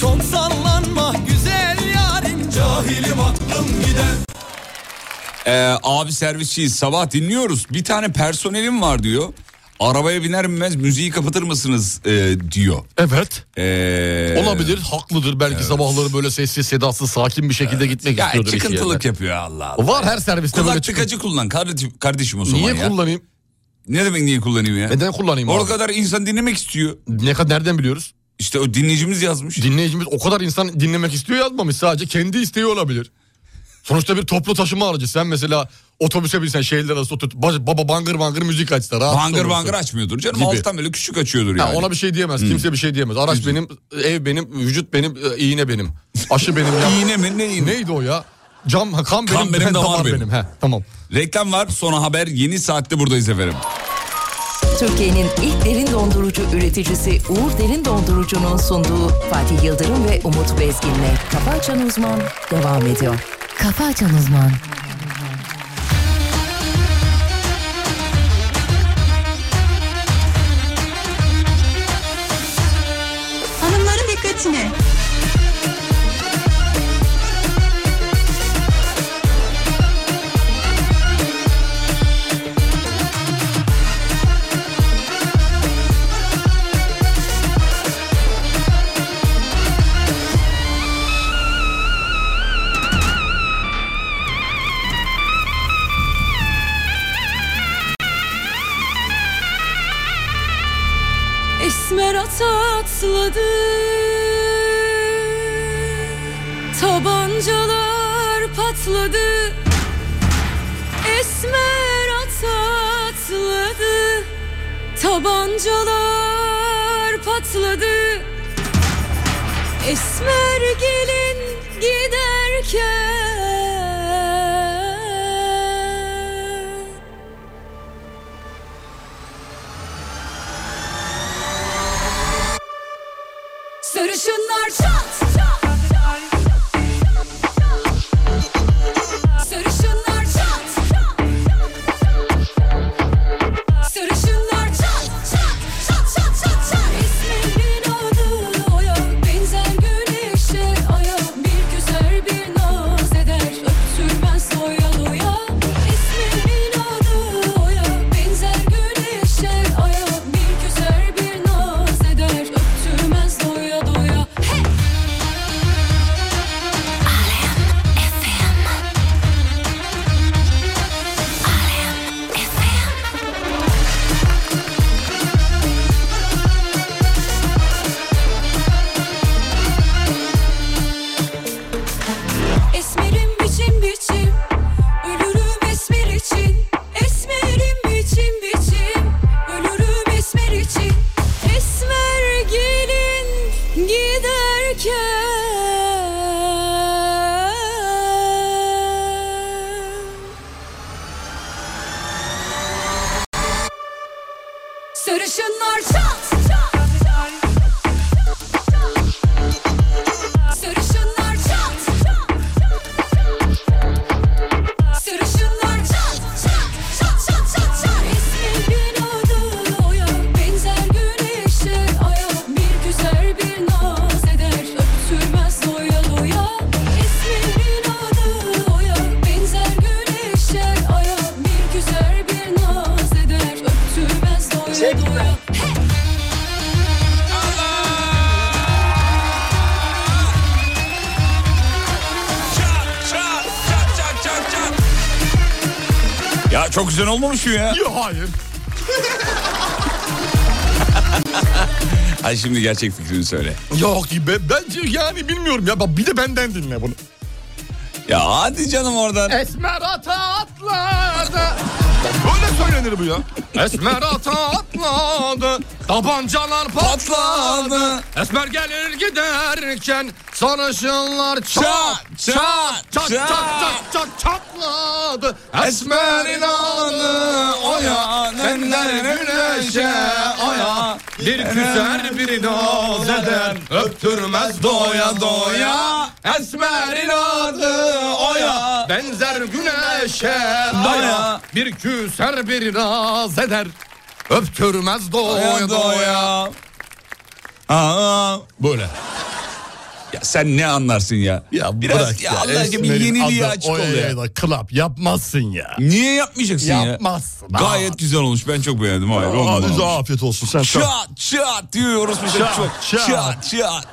Speaker 1: Çok sallanma güzel yarim Cahilim aklım gider
Speaker 2: Ee, abi servisçiyiz sabah dinliyoruz. Bir tane personelim var diyor. Arabaya biner binmez müziği kapatır mısınız ee, diyor.
Speaker 3: Evet.
Speaker 2: Ee,
Speaker 3: Olabilir, haklıdır. Belki sabahları böyle sessiz, sedasız, sakin bir şekilde gitmek
Speaker 2: Ya
Speaker 3: istiyordur. iş
Speaker 2: çıkıntılık
Speaker 3: yerine.
Speaker 2: yapıyor Allah Allah.
Speaker 3: Var her serviste böyle
Speaker 2: Kulak
Speaker 3: çıkıntı.
Speaker 2: tıkacı kullan kardeşim, kardeşim o zaman
Speaker 3: Niye
Speaker 2: ya.
Speaker 3: kullanayım?
Speaker 2: Ne demek niye kullanayım ya?
Speaker 3: Neden kullanayım
Speaker 2: O
Speaker 3: abi?
Speaker 2: kadar insan dinlemek istiyor.
Speaker 3: Ne kadar nereden biliyoruz?
Speaker 2: İşte o dinleyicimiz yazmış.
Speaker 3: Dinleyicimiz o kadar insan dinlemek istiyor yazmamış. Sadece kendi isteği olabilir. Sonuçta bir toplu taşıma aracı. Sen mesela otobüse binsen şehirler arası otobüs. ba- Baba bangır bangır müzik açsa. rahatsız
Speaker 2: Bangır
Speaker 3: olursun.
Speaker 2: bangır açmıyordur canım.
Speaker 3: Gibi.
Speaker 2: Alttan böyle küçük açıyordur
Speaker 3: Ha,
Speaker 2: yani. Hmm.
Speaker 3: ona bir şey diyemez. Kimse bir şey diyemez. Araç benim, ev benim, vücut benim, e, iğne benim. Aşı benim. ya.
Speaker 2: İğne mi ne iğne?
Speaker 3: Neydi o ya? Cam, ha, kan benim,
Speaker 2: Kan benim,
Speaker 3: ben-
Speaker 2: damar benim.
Speaker 3: Heh, tamam.
Speaker 2: Reklam var sonra haber yeni saatte buradayız efendim.
Speaker 6: Türkiye'nin ilk derin dondurucu üreticisi Uğur Derin Dondurucu'nun sunduğu Fatih Yıldırım ve Umut Bezgin'le Kafa Açan Uzman devam ediyor. Kafa Açan Uzman.
Speaker 9: Hanımların dikkatine.
Speaker 10: Esmer ata atladı Tabancalar patladı Esmer ata atladı Tabancalar patladı Esmer gelin giderken Sarışınlar çat Sarışınlar çat Sarışınlar çat çat çat çat çat çat İsminin adı Oya benzer güneşe Aya bir güzel bir naz eder Öptürmez doya doya İsminin adı Oya benzer güneşe Aya bir güzel bir naz eder Öptürmez doya doya Hey! Esmerim biçim biçim Ölürüm esmer için Esmerim biçim biçim Ölürüm esmer için Esmer gelin giderken Sarışınlar çat Sarışınlar çat Sarışınlar çat çat çat çat çat çat İsmin adı oya benzer güneşe aya Bir güzel bir naz eder öptürmez doya doya İsmin adı oya benzer güneşe aya Bir güzel bir naz eder öptürmez doya doya Hey!
Speaker 2: Çat çat çat çat çat çat. Ya çok güzel olmamış mı ya?
Speaker 3: Yok hayır.
Speaker 2: Hadi şimdi gerçek fikrini söyle.
Speaker 3: Yok be, bence yani bilmiyorum ya. Bak Bir de benden dinle bunu.
Speaker 2: Ya hadi canım oradan.
Speaker 3: Esmer ata atladı. Böyle söylenir bu ya. Esmer ata atladı. Tabancalar patladı. Esmer gelir giderken sarışınlar çat çat çat çat çat çat çatladı. Esmer inanı oya nenler güneşe oya. Bir güzel bir noz eder öptürmez doya doya. Esmerin adı oya benzer güneşe doya. Bir küser bir naz eder öptürmez doya doya.
Speaker 2: Aa,
Speaker 3: Böyle.
Speaker 2: ya sen ne anlarsın ya?
Speaker 3: Ya
Speaker 2: Biraz
Speaker 3: bırak
Speaker 2: ya Allah aşkına bir
Speaker 3: Esmer'in
Speaker 2: yeniliğe
Speaker 3: adı
Speaker 2: açık ol
Speaker 3: Oya
Speaker 2: ya.
Speaker 3: da Club yapmazsın ya.
Speaker 2: Niye yapmayacaksın ya?
Speaker 3: Yapmazsın.
Speaker 2: Gayet güzel olmuş. Ben çok beğendim. Hayır olmadı.
Speaker 3: Abi
Speaker 2: olmadı.
Speaker 3: afiyet olsun sen. sen-
Speaker 2: Çat çat diyoruz. bir de
Speaker 3: Çat,
Speaker 2: çok.
Speaker 3: çat.
Speaker 2: Çat çat.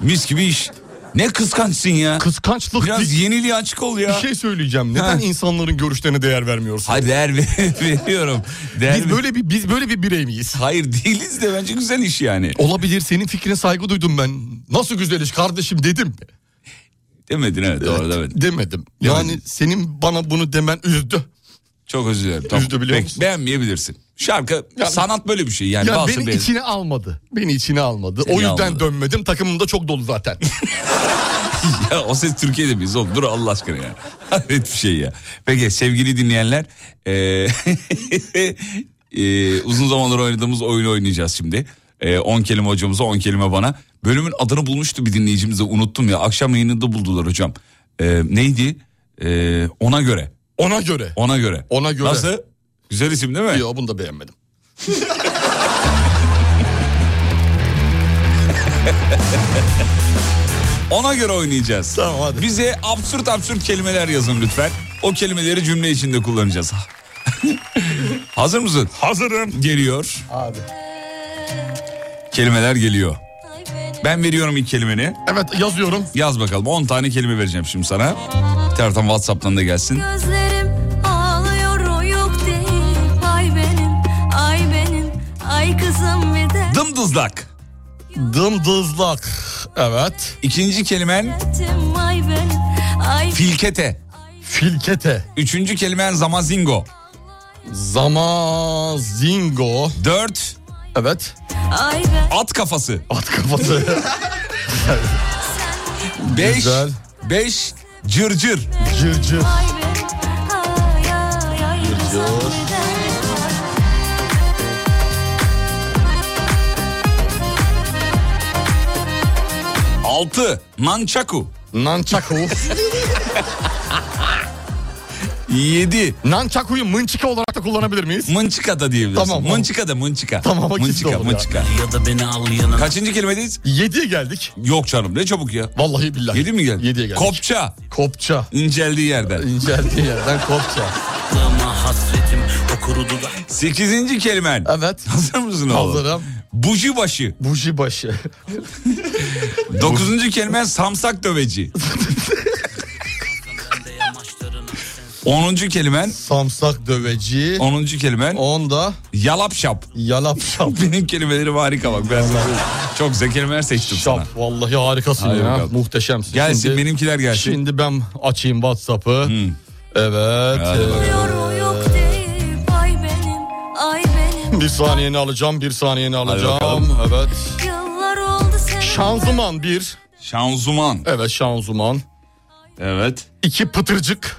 Speaker 2: Mis gibi iş. Ne kıskançsın ya.
Speaker 3: Kıskançlık
Speaker 2: Biraz
Speaker 3: değil.
Speaker 2: yeniliğe açık ol
Speaker 3: bir
Speaker 2: ya.
Speaker 3: şey söyleyeceğim. Neden
Speaker 2: Ha.
Speaker 3: insanların görüşlerine değer vermiyorsun?
Speaker 2: Hayır değer ver- veriyorum. Değer
Speaker 3: Biz
Speaker 2: ver-
Speaker 3: böyle bir biz böyle bir birey miyiz?
Speaker 2: Hayır değiliz de bence güzel iş yani.
Speaker 3: Olabilir senin fikrine saygı duydum ben. Nasıl güzel iş kardeşim dedim.
Speaker 2: Demedin evet doğru demedin.
Speaker 3: Demedim. Yani senin bana bunu demen üzdü.
Speaker 2: Çok özür dilerim. Tamam.
Speaker 3: Üzdü biliyor
Speaker 2: Peki,
Speaker 3: musun?
Speaker 2: Beğenmeyebilirsin. Şarkı sanat böyle bir şey yani.
Speaker 3: ya
Speaker 2: bazı
Speaker 3: beni
Speaker 2: beğen-
Speaker 3: içine almadı. Beni içine almadı.
Speaker 2: Seni
Speaker 3: o yüzden
Speaker 2: almadı.
Speaker 3: dönmedim. Takımım da çok dolu zaten.
Speaker 2: Ya o ses Türkiye'de miyiz oğlum? Dur Allah aşkına ya. Hayret bir şey ya. Peki sevgili dinleyenler. eee, eee, uzun zamandır oynadığımız oyunu oynayacağız şimdi. Eee, 10 kelime hocamıza 10 kelime bana. Bölümün adını bulmuştu bir dinleyicimiz de unuttum ya. Akşam yayınında buldular hocam. Eee, neydi? Eee, ona göre.
Speaker 3: Ona göre.
Speaker 2: Ona göre.
Speaker 3: Ona göre.
Speaker 2: Nasıl? Güzel isim değil mi?
Speaker 3: Yo bunu da beğenmedim.
Speaker 2: Ona göre oynayacağız.
Speaker 3: Tamam hadi.
Speaker 2: Bize absürt absürt kelimeler yazın lütfen. O kelimeleri cümle içinde kullanacağız. Hazır mısın? Hazırım. Geliyor.
Speaker 3: Abi.
Speaker 2: Kelimeler geliyor. Ben veriyorum ilk kelimeni.
Speaker 3: Evet yazıyorum.
Speaker 2: Yaz bakalım. 10 tane kelime vereceğim şimdi sana. Bir taraftan WhatsApp'tan da gelsin.
Speaker 10: Gözlerim ağlıyor yok değil Ay benim, ay benim, ay kızım bir de
Speaker 2: Dımdızlak.
Speaker 3: Dımdızlak. Evet.
Speaker 2: İkinci kelimen
Speaker 10: Ettim, Ay benim, ay
Speaker 2: filkete.
Speaker 3: Filkete.
Speaker 2: Üçüncü kelimen zamazingo.
Speaker 3: Zamazingo.
Speaker 2: Dört.
Speaker 3: Evet.
Speaker 10: ay ben
Speaker 2: At kafası.
Speaker 3: At kafası.
Speaker 2: Beş.
Speaker 3: Güzel.
Speaker 2: Beş. Cırcır.
Speaker 3: cır cır.
Speaker 10: ay benim Ay ay ay kızım bir de
Speaker 2: Altı. Mançaku.
Speaker 3: Nançaku.
Speaker 2: Yedi.
Speaker 3: Nançaku'yu mınçika olarak da kullanabilir miyiz?
Speaker 2: Mınçika da diyebilirsin.
Speaker 3: Tamam, tamam.
Speaker 2: Mınçika da mınçika.
Speaker 3: Tamam, o kesin
Speaker 2: mınçika,
Speaker 3: olur ya.
Speaker 2: mınçika.
Speaker 5: Ya da beni al yanına
Speaker 2: Kaçıncı kelimedeyiz?
Speaker 3: 7'ye geldik.
Speaker 2: Yok canım ne çabuk ya.
Speaker 3: Vallahi billahi.
Speaker 2: Yedi mi geldi?
Speaker 3: 7'ye geldik.
Speaker 2: Kopça
Speaker 3: Kopça.
Speaker 2: inceldiği yerden.
Speaker 3: İnceldiği yerden kopça.
Speaker 5: Ama hasretim o kurudu da
Speaker 2: Sekizinci kelimen.
Speaker 3: Evet.
Speaker 2: Hazır mısın oğlum?
Speaker 3: Hazırım.
Speaker 2: Buji başı.
Speaker 3: Buji başı.
Speaker 2: Dokuzuncu kelimen samsak döveci. Onuncu kelimen.
Speaker 3: Samsak döveci.
Speaker 2: Onuncu kelimen.
Speaker 3: Onda
Speaker 2: Yalap şap.
Speaker 3: yalap şap.
Speaker 2: Benim kelimelerim harika bak. Ben sana çok güzel kelimeler seçtim sana.
Speaker 3: Şap. Vallahi harikasın
Speaker 2: Hadi
Speaker 3: ya.
Speaker 2: bakalım.
Speaker 3: Muhteşemsin.
Speaker 2: Gelsin benimkiler gelsin.
Speaker 3: Şimdi ben açayım Whatsapp'ı. Evet.
Speaker 2: Hadi
Speaker 3: ee,
Speaker 10: Ağlıyor yok değil Ay benim, ay benim
Speaker 3: bir saniyeni alacağım, bir saniyeni alacağım.
Speaker 2: bakalım.
Speaker 3: Evet.
Speaker 10: Yıllar oldu sen
Speaker 3: Şanzuman bir.
Speaker 2: Şanzuman.
Speaker 3: Evet şanzuman.
Speaker 2: Evet.
Speaker 3: İki pıtırcık.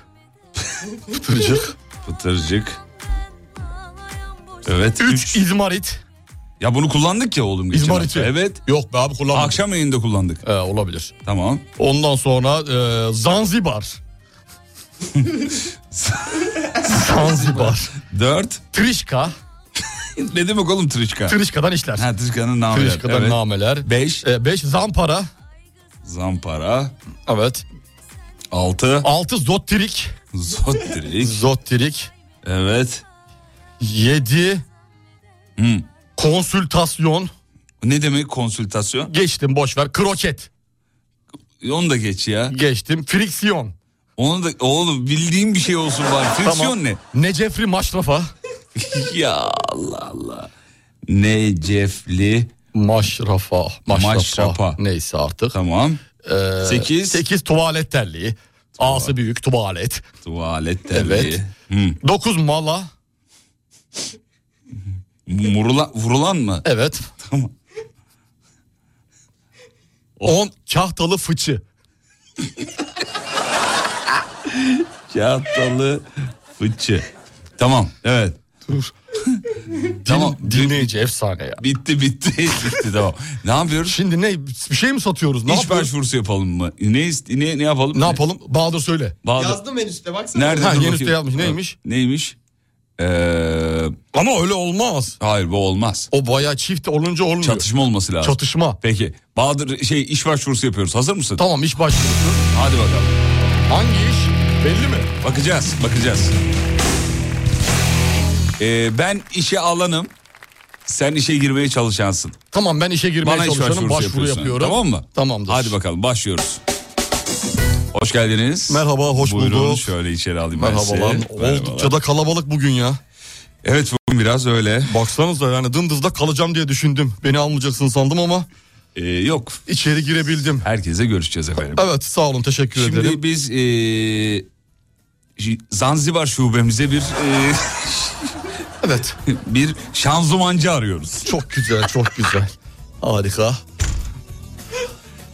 Speaker 3: pıtırcık.
Speaker 2: Pıtırcık. Evet.
Speaker 3: Üç
Speaker 2: Üç.
Speaker 3: izmarit.
Speaker 2: Ya bunu kullandık ya oğlum. geçen
Speaker 3: İzmariti.
Speaker 2: hafta. Evet.
Speaker 3: Yok be abi kullanmadım.
Speaker 2: Akşam yayında kullandık.
Speaker 3: Ee, olabilir.
Speaker 2: Tamam.
Speaker 3: Ondan sonra e, Zanzibar. Zanzibar.
Speaker 2: Dört.
Speaker 3: Trişka.
Speaker 2: Ne demek oğlum Trişka?
Speaker 3: Trişka'dan işler.
Speaker 2: Ha Trişka'nın namı.
Speaker 3: Trişka'dan
Speaker 2: evet.
Speaker 3: nameler.
Speaker 2: Beş.
Speaker 3: E, beş Zampara.
Speaker 2: Zampara.
Speaker 3: Evet.
Speaker 2: Altı.
Speaker 3: Altı Zottirik.
Speaker 2: Zottirik.
Speaker 3: Zottirik.
Speaker 2: Evet.
Speaker 3: Yedi.
Speaker 2: Hmm.
Speaker 3: Konsültasyon.
Speaker 2: Ne demek konsültasyon? E,
Speaker 3: Geçtim boş ver. Kroket.
Speaker 2: Onu da geç ya.
Speaker 3: Geçtim. Friksiyon.
Speaker 2: Onu da oğlum bildiğim bir şey olsun var. Friksiyon
Speaker 3: Tamam.
Speaker 2: ne?
Speaker 3: Necefri Maşrafa.
Speaker 2: ya Allah Allah. Necefli.
Speaker 3: Maşrafa. Maşrafa.
Speaker 2: Maşrafa.
Speaker 3: Neyse artık.
Speaker 2: Tamam.
Speaker 3: Ee,
Speaker 2: Sekiz.
Speaker 3: Sekiz tuvalet terliği. A'sı büyük tuvalet.
Speaker 2: Tuvalet terliği.
Speaker 3: Evet.
Speaker 2: Hmm.
Speaker 3: Dokuz mala.
Speaker 2: Murula- vurulan mı?
Speaker 3: Evet.
Speaker 2: Tamam. Oh.
Speaker 3: On kahtalı fıçı.
Speaker 2: Çatalı fıçı. Tamam evet. Tamam.
Speaker 3: Din- dinleyici efsane ya.
Speaker 2: Bitti bitti. bitti tamam. Ne yapıyoruz?
Speaker 3: Şimdi ne bir şey mi satıyoruz? Ne
Speaker 2: İş
Speaker 3: yapıyoruz?
Speaker 2: başvurusu yapalım mı? Ne ist- ne, ne yapalım?
Speaker 3: Ne yapalım? Bahadır söyle.
Speaker 2: Bahadır-
Speaker 11: Yazdım en üstte baksana.
Speaker 2: Nerede?
Speaker 3: Ha,
Speaker 2: Dur
Speaker 3: yeni
Speaker 2: bakayım.
Speaker 3: üste yazmış. Neymiş?
Speaker 2: Neymiş? Ee,
Speaker 3: Ama öyle olmaz.
Speaker 2: hayır bu olmaz.
Speaker 3: O bayağı çift olunca olmuyor.
Speaker 2: Çatışma olması lazım.
Speaker 3: Çatışma.
Speaker 2: Peki. Bahadır şey iş başvurusu yapıyoruz. Hazır mısın?
Speaker 3: Tamam iş başvurusu.
Speaker 2: Hadi bakalım.
Speaker 3: Hangi iş? Belli mi?
Speaker 2: Bakacağız. Bakacağız. Ee, ben işe alanım. Sen işe girmeye çalışansın.
Speaker 3: Tamam ben işe girmeye
Speaker 2: Bana iş
Speaker 3: çalışanım.
Speaker 2: başvurusu
Speaker 3: Başvuru
Speaker 2: yapıyorsun.
Speaker 3: yapıyorum.
Speaker 2: Tamam mı?
Speaker 3: Tamamdır.
Speaker 2: Hadi bakalım başlıyoruz. Hoş geldiniz.
Speaker 3: Merhaba, hoş
Speaker 2: Buyurun,
Speaker 3: bulduk.
Speaker 2: şöyle içeri alayım ben sizi.
Speaker 3: Merhabalar. Oldukça
Speaker 2: Merhabalar.
Speaker 3: da kalabalık bugün ya.
Speaker 2: Evet bugün biraz öyle.
Speaker 3: Baksanıza yani dımdızda kalacağım diye düşündüm. Beni almayacaksın sandım ama
Speaker 2: Ee, yok.
Speaker 3: İçeri girebildim.
Speaker 2: Herkese görüşeceğiz efendim.
Speaker 3: Evet sağ olun teşekkür
Speaker 2: Şimdi
Speaker 3: ederim.
Speaker 2: biz ee, J- Zanzibar şubemize bir ee,
Speaker 3: Evet
Speaker 2: bir şanzumancı arıyoruz.
Speaker 3: çok güzel çok güzel. Harika.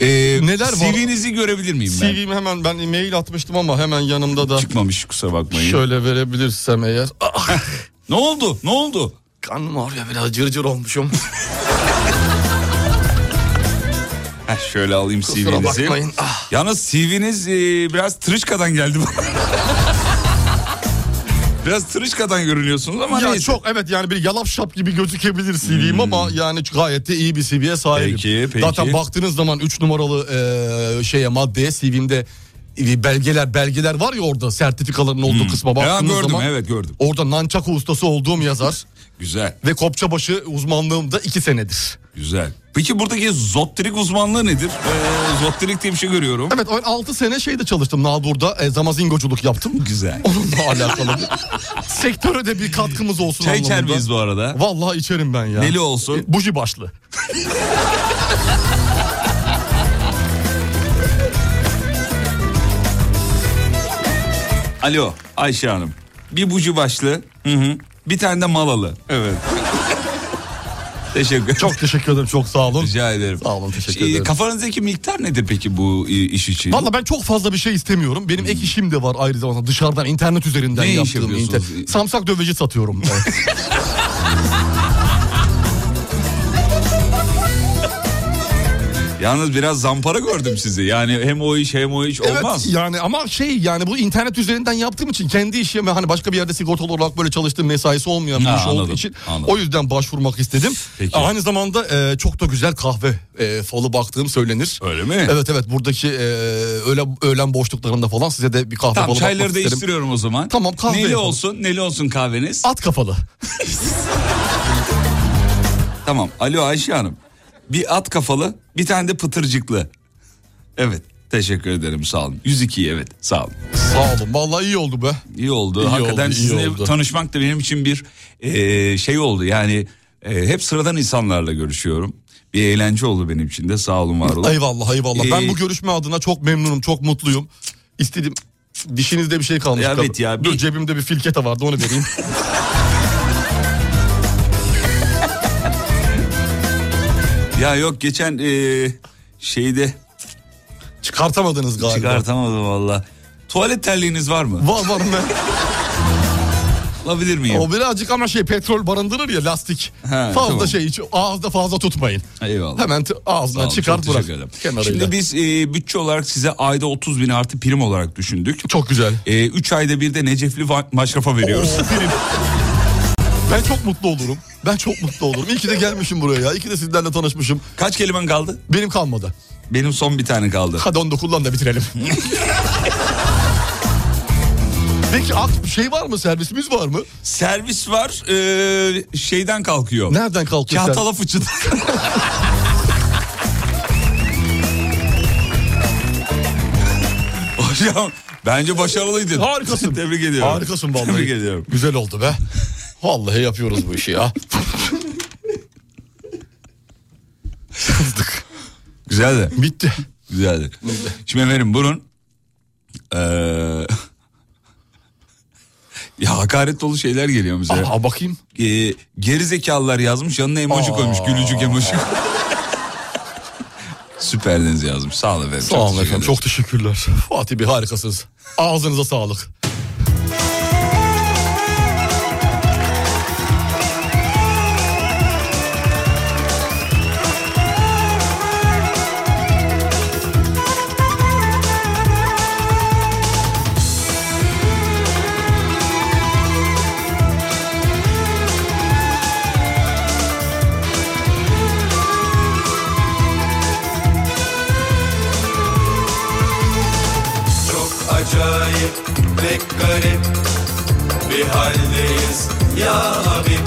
Speaker 2: Ee,
Speaker 3: Neler var?
Speaker 2: CV'nizi görebilir miyim ben?
Speaker 3: CV'mi hemen ben mail atmıştım ama hemen yanımda da
Speaker 2: Çıkmamış kusura bakmayın.
Speaker 3: şöyle verebilirsem eğer. Ah,
Speaker 2: Ne oldu? Ne oldu?
Speaker 3: kanım ağrıyor biraz cırcır olmuşum.
Speaker 2: Heh, şöyle alayım
Speaker 3: Kusura
Speaker 2: CV'nizi.
Speaker 3: bakmayın. Ah,
Speaker 2: Yalnız CV'niz e, biraz tırışkadan geldi bana. biraz tırışkadan görünüyorsunuz ama
Speaker 3: ya
Speaker 2: neyse.
Speaker 3: çok evet yani bir yalap şap gibi gözükebilir CV'm ama yani gayet de iyi bir CV'ye sahibim.
Speaker 2: Hmm. Peki, peki.
Speaker 3: Zaten baktığınız zaman 3 numaralı eee, şeye maddeye CV'mde belgeler belgeler var ya orada sertifikaların olduğu kısma
Speaker 2: Ya
Speaker 3: baktığınız
Speaker 2: Hmm. gördüm
Speaker 3: zaman.
Speaker 2: evet gördüm.
Speaker 3: Orada nançaka ustası olduğum yazar
Speaker 2: Güzel
Speaker 3: ve kopçabaşı uzmanlığım da iki senedir.
Speaker 2: güzel. Peki buradaki zottirik uzmanlığı nedir? Ee, zottirik diye bir şey görüyorum.
Speaker 3: Evet ben 6 sene şeyde çalıştım Nalbur'da e, zamazingoculuk yaptım.
Speaker 2: Güzel.
Speaker 3: Onunla alakalı. Sektöre de bir katkımız olsun
Speaker 2: Çay içer
Speaker 3: anlamında.
Speaker 2: miyiz bu arada?
Speaker 3: Vallahi içerim ben ya.
Speaker 2: Neli olsun?
Speaker 3: E, Buji başlı.
Speaker 2: Alo Ayşe Hanım. Bir bucu başlı. Hı hı. Bir tane de malalı. Evet. Teşekkür ederim.
Speaker 3: Çok teşekkür ederim çok sağ olun.
Speaker 2: Rica ederim.
Speaker 3: Sağ olun, teşekkür
Speaker 2: Ee,
Speaker 3: ederim.
Speaker 2: Kafanızdaki miktar nedir peki bu e, iş için?
Speaker 3: Valla ben çok fazla bir şey istemiyorum. Benim ek işim de var ayrı zamanda dışarıdan internet üzerinden
Speaker 2: Ne iş
Speaker 3: yaptığım.
Speaker 2: yapıyorsunuz?
Speaker 3: Samsak döveci satıyorum. Evet.
Speaker 2: Yalnız biraz zampara gördüm sizi. Yani hem o iş hem o iş olmaz.
Speaker 3: Evet yani ama şey yani bu internet üzerinden yaptığım için kendi işim ve hani başka bir yerde sigortalı olarak böyle çalıştığım mesaisi olmayan bir
Speaker 2: Ha,
Speaker 3: iş
Speaker 2: anladım,
Speaker 3: olduğu için
Speaker 2: anladım.
Speaker 3: o yüzden başvurmak istedim.
Speaker 2: Peki.
Speaker 3: Aynı zamanda e, çok da güzel kahve e, falı baktığım söylenir.
Speaker 2: Öyle mi?
Speaker 3: Evet evet buradaki e, öğle, öğlen boşluklarında falan size de bir kahve
Speaker 2: Tamam
Speaker 3: falı
Speaker 2: çayları
Speaker 3: bakmak isterim.
Speaker 2: değiştiriyorum o zaman.
Speaker 3: Tamam, kahve
Speaker 2: Neli
Speaker 3: yapalım.
Speaker 2: olsun, neli olsun kahveniz.
Speaker 3: At kafalı.
Speaker 2: Tamam. Alo Ayşe Hanım. Bir at kafalı, bir tane de pıtırcıklı. Evet. Teşekkür ederim sağ olun. 102 evet sağ olun.
Speaker 3: Sağ olun vallahi iyi oldu be.
Speaker 2: İyi oldu.
Speaker 3: İyi
Speaker 2: Hakikaten
Speaker 3: oldu, iyi
Speaker 2: sizinle
Speaker 3: oldu.
Speaker 2: tanışmak da benim için bir e, şey oldu. Yani e, hep sıradan insanlarla görüşüyorum. Bir eğlence oldu benim için de sağ olun var olun.
Speaker 3: Eyvallah eyvallah.
Speaker 2: Ee,
Speaker 3: ben bu görüşme adına çok memnunum, çok mutluyum. İstedim dişinizde bir şey kalmış.
Speaker 2: Ya
Speaker 3: kadın.
Speaker 2: evet ya,
Speaker 3: Dur
Speaker 2: bir-
Speaker 3: cebimde bir filketa vardı onu vereyim.
Speaker 2: Ya yok geçen e, şeyde
Speaker 3: Çıkartamadınız galiba.
Speaker 2: çıkartamadım valla. Tuvalet terliğiniz var mı?
Speaker 3: Var var ne?
Speaker 2: Alabilir miyim?
Speaker 3: O birazcık ama şey petrol barındırır ya lastik.
Speaker 2: Ha,
Speaker 3: fazla
Speaker 2: tamam.
Speaker 3: şey hiç ağızda fazla tutmayın.
Speaker 2: Eyvallah.
Speaker 3: Hemen t-
Speaker 2: Sağ olun,
Speaker 3: ağzından çıkart
Speaker 2: çok
Speaker 3: bırak.
Speaker 2: teşekkür ederim.
Speaker 3: Kenarıyla.
Speaker 2: Şimdi biz e, bütçe olarak size ayda 30 bin artı prim olarak düşündük.
Speaker 3: Çok güzel.
Speaker 2: 3 ayda bir de Necefli va- maşrafa veriyoruz.
Speaker 3: Oo, prim. Ben çok mutlu olurum. Ben çok mutlu olurum. İyi ki de gelmişim buraya ya. İyi ki de sizlerle tanışmışım.
Speaker 2: Kaç kelimen kaldı?
Speaker 3: Benim kalmadı.
Speaker 2: Benim son bir tane kaldı.
Speaker 3: Hadi onu da kullan da bitirelim. Peki ak- şey var mı servisimiz var mı?
Speaker 2: Servis var e, şeyden kalkıyor.
Speaker 3: Nereden kalkıyor servis?
Speaker 2: Çağatala fıçıdan. Hocam bence başarılıydın.
Speaker 3: Harikasın.
Speaker 2: Tebrik ediyorum.
Speaker 3: Harikasın vallahi.
Speaker 2: Tebrik ediyorum.
Speaker 3: Güzel oldu be. Vallahi yapıyoruz bu işi ya. Yazdık.
Speaker 2: Güzeldi.
Speaker 3: Bitti.
Speaker 2: Güzeldi. Şimdi efendim Ee, bunun eee, ya hakaret dolu şeyler geliyor bize.
Speaker 3: Aa, bakayım.
Speaker 2: Ee, geri zekalılar yazmış yanına emoji koymuş gülücük emoji. Süperdiniz yazmış. Sağ olun efendim.
Speaker 3: Sağ olun
Speaker 2: teşekkür
Speaker 3: efendim.
Speaker 2: ederim.
Speaker 3: Çok teşekkürler. Fatih Bey harikasınız. Ağzınıza sağlık.
Speaker 8: Çok acayip ve garip bir haldeyiz ya Habib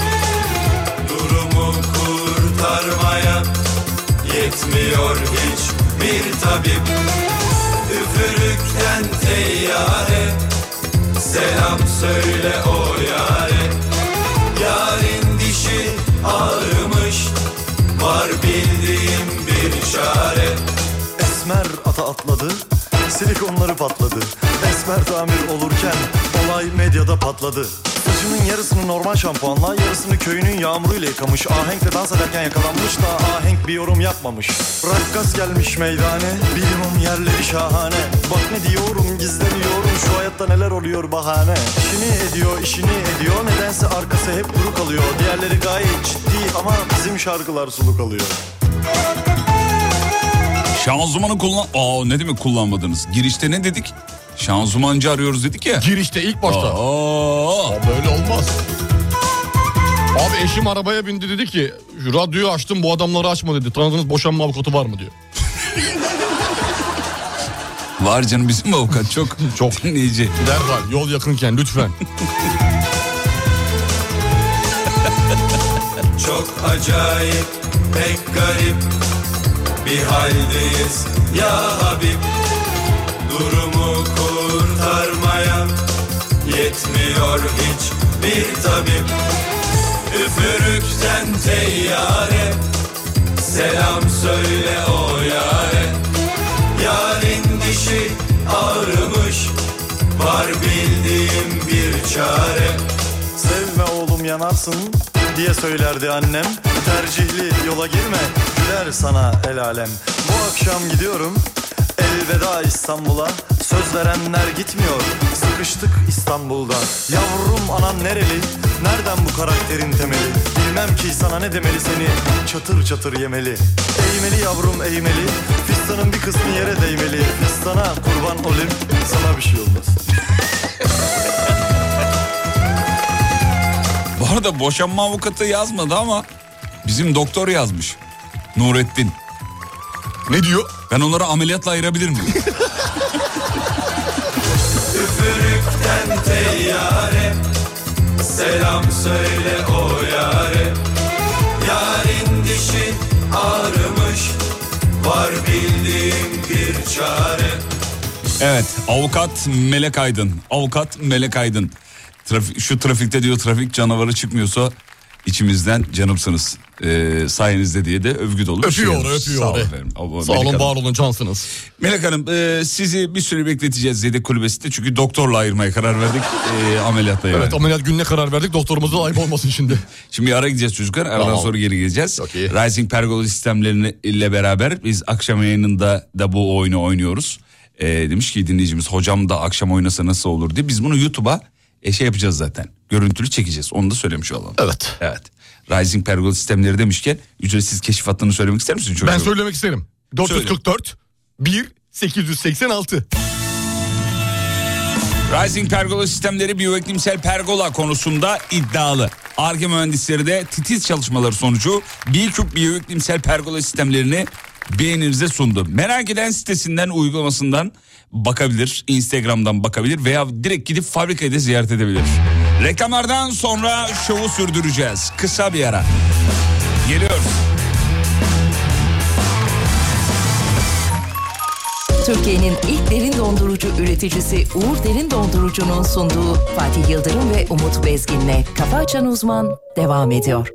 Speaker 8: Durumu kurtarmaya yetmiyor hiç bir tabip Üfürükten teyyare selam söyle o yare Yarın dişi ağrımış var bildiğim bir atladı Silikonları patladı Esmer tamir olurken olay medyada patladı Saçının yarısını normal şampuanla Yarısını köyünün yağmuruyla yıkamış Ahenkle dans ederken yakalanmış da Ahenk bir yorum yapmamış Rakkas gelmiş meydane Bilimum yerleri şahane Bak ne diyorum gizleniyorum Şu hayatta neler oluyor bahane İşini ediyor işini ediyor Nedense arkası hep kuru kalıyor Diğerleri gayet ciddi ama bizim şarkılar suluk alıyor
Speaker 2: Şanzımanı kullan... Aa ne demek kullanmadınız? Girişte ne dedik? Şanzımancı arıyoruz dedik ya.
Speaker 3: Girişte ilk başta. Aa, böyle olmaz. Abi eşim arabaya bindi dedi ki "Şu radyoyu açtım bu adamları açma dedi. Tanıdığınız boşanma avukatı var mı diyor.
Speaker 2: Var canım bizim avukat çok.
Speaker 3: çok.
Speaker 2: Dinleyici.
Speaker 3: Derhal yol yakınken lütfen.
Speaker 12: Çok acayip, pek garip bir haldeyiz ya Habib. Durumu kurtarmaya yetmiyor hiç bir tabip. Üfürükten teyyare, selam söyle o yare. Yarın dişi ağrımış, var bildiğim bir çare.
Speaker 8: Sevme oğlum yanarsın diye söylerdi annem. Tercihli yola girme güler sana el alem. Bu akşam gidiyorum elveda İstanbul'a. Söz verenler gitmiyor sıkıştık İstanbul'da. Yavrum anan nereli nereden bu karakterin temeli. Bilmem ki sana ne demeli seni çatır çatır yemeli. Eğmeli yavrum eğmeli fistanın bir kısmı yere değmeli. Fistana kurban olayım sana bir şey olmaz.
Speaker 2: Bu arada boşanma avukatı yazmadı ama bizim doktor yazmış. Nurettin.
Speaker 3: Ne diyor?
Speaker 2: Ben onları ameliyatla ayırabilir miyim?
Speaker 12: Üfürükten teyyare Selam söyle o yare Yarın dişi ağrımış Var bildiğim bir çare
Speaker 2: Evet avukat Melek Aydın. Avukat Melek Aydın. Trafik, şu trafikte diyor trafik canavarı çıkmıyorsa içimizden canımsınız. Ee, sayenizde diye de övgü dolu. bir şey
Speaker 3: öpüyor
Speaker 2: yazmış.
Speaker 3: öpüyor.
Speaker 2: Sağ olun
Speaker 3: be.
Speaker 2: efendim. Abo-
Speaker 3: Sağ
Speaker 2: Melek
Speaker 3: olun
Speaker 2: Hanım.
Speaker 3: var olun cansınız.
Speaker 2: Melek Hanım e, sizi bir süre bekleteceğiz yedek kulübesinde çünkü doktorla ayırmaya karar verdik e, ameliyatla yani.
Speaker 3: Evet ameliyat gününe karar verdik doktorumuza da ayıp olmasın şimdi.
Speaker 2: Şimdi bir ara gideceğiz çocuklar. Aradan
Speaker 3: Tamam.
Speaker 2: sonra geri geleceğiz. Rising Pergola sistemlerini ile beraber biz akşam yayınında da bu oyunu oynuyoruz. Ee, demiş ki dinleyicimiz hocam da akşam oynasa nasıl olur diye. Biz bunu YouTube'a e, şey yapacağız zaten. Görüntülü çekeceğiz. Onu da söylemiş olalım.
Speaker 3: Evet.
Speaker 2: Evet. Rising Pergola sistemleri demişken ücretsiz keşif hattını söylemek ister misin çocuğum?
Speaker 3: Ben söylemek isterim.
Speaker 2: Söyle.
Speaker 3: 444 1 886.
Speaker 2: Rising Pergola sistemleri biyoiklimsel pergola konusunda iddialı. Arge mühendisleri de titiz çalışmaları sonucu birçok biyoiklimsel pergola sistemlerini beğeninize sundu. Merak eden sitesinden uygulamasından bakabilir, Instagram'dan bakabilir veya direkt gidip fabrikayı da ziyaret edebilir. Reklamlardan sonra şovu sürdüreceğiz. Kısa bir ara. Geliyoruz.
Speaker 6: Türkiye'nin ilk derin dondurucu üreticisi Uğur Derin Dondurucu'nun sunduğu Fatih Yıldırım ve Umut Bezgin'le Kafa Açan Uzman devam ediyor.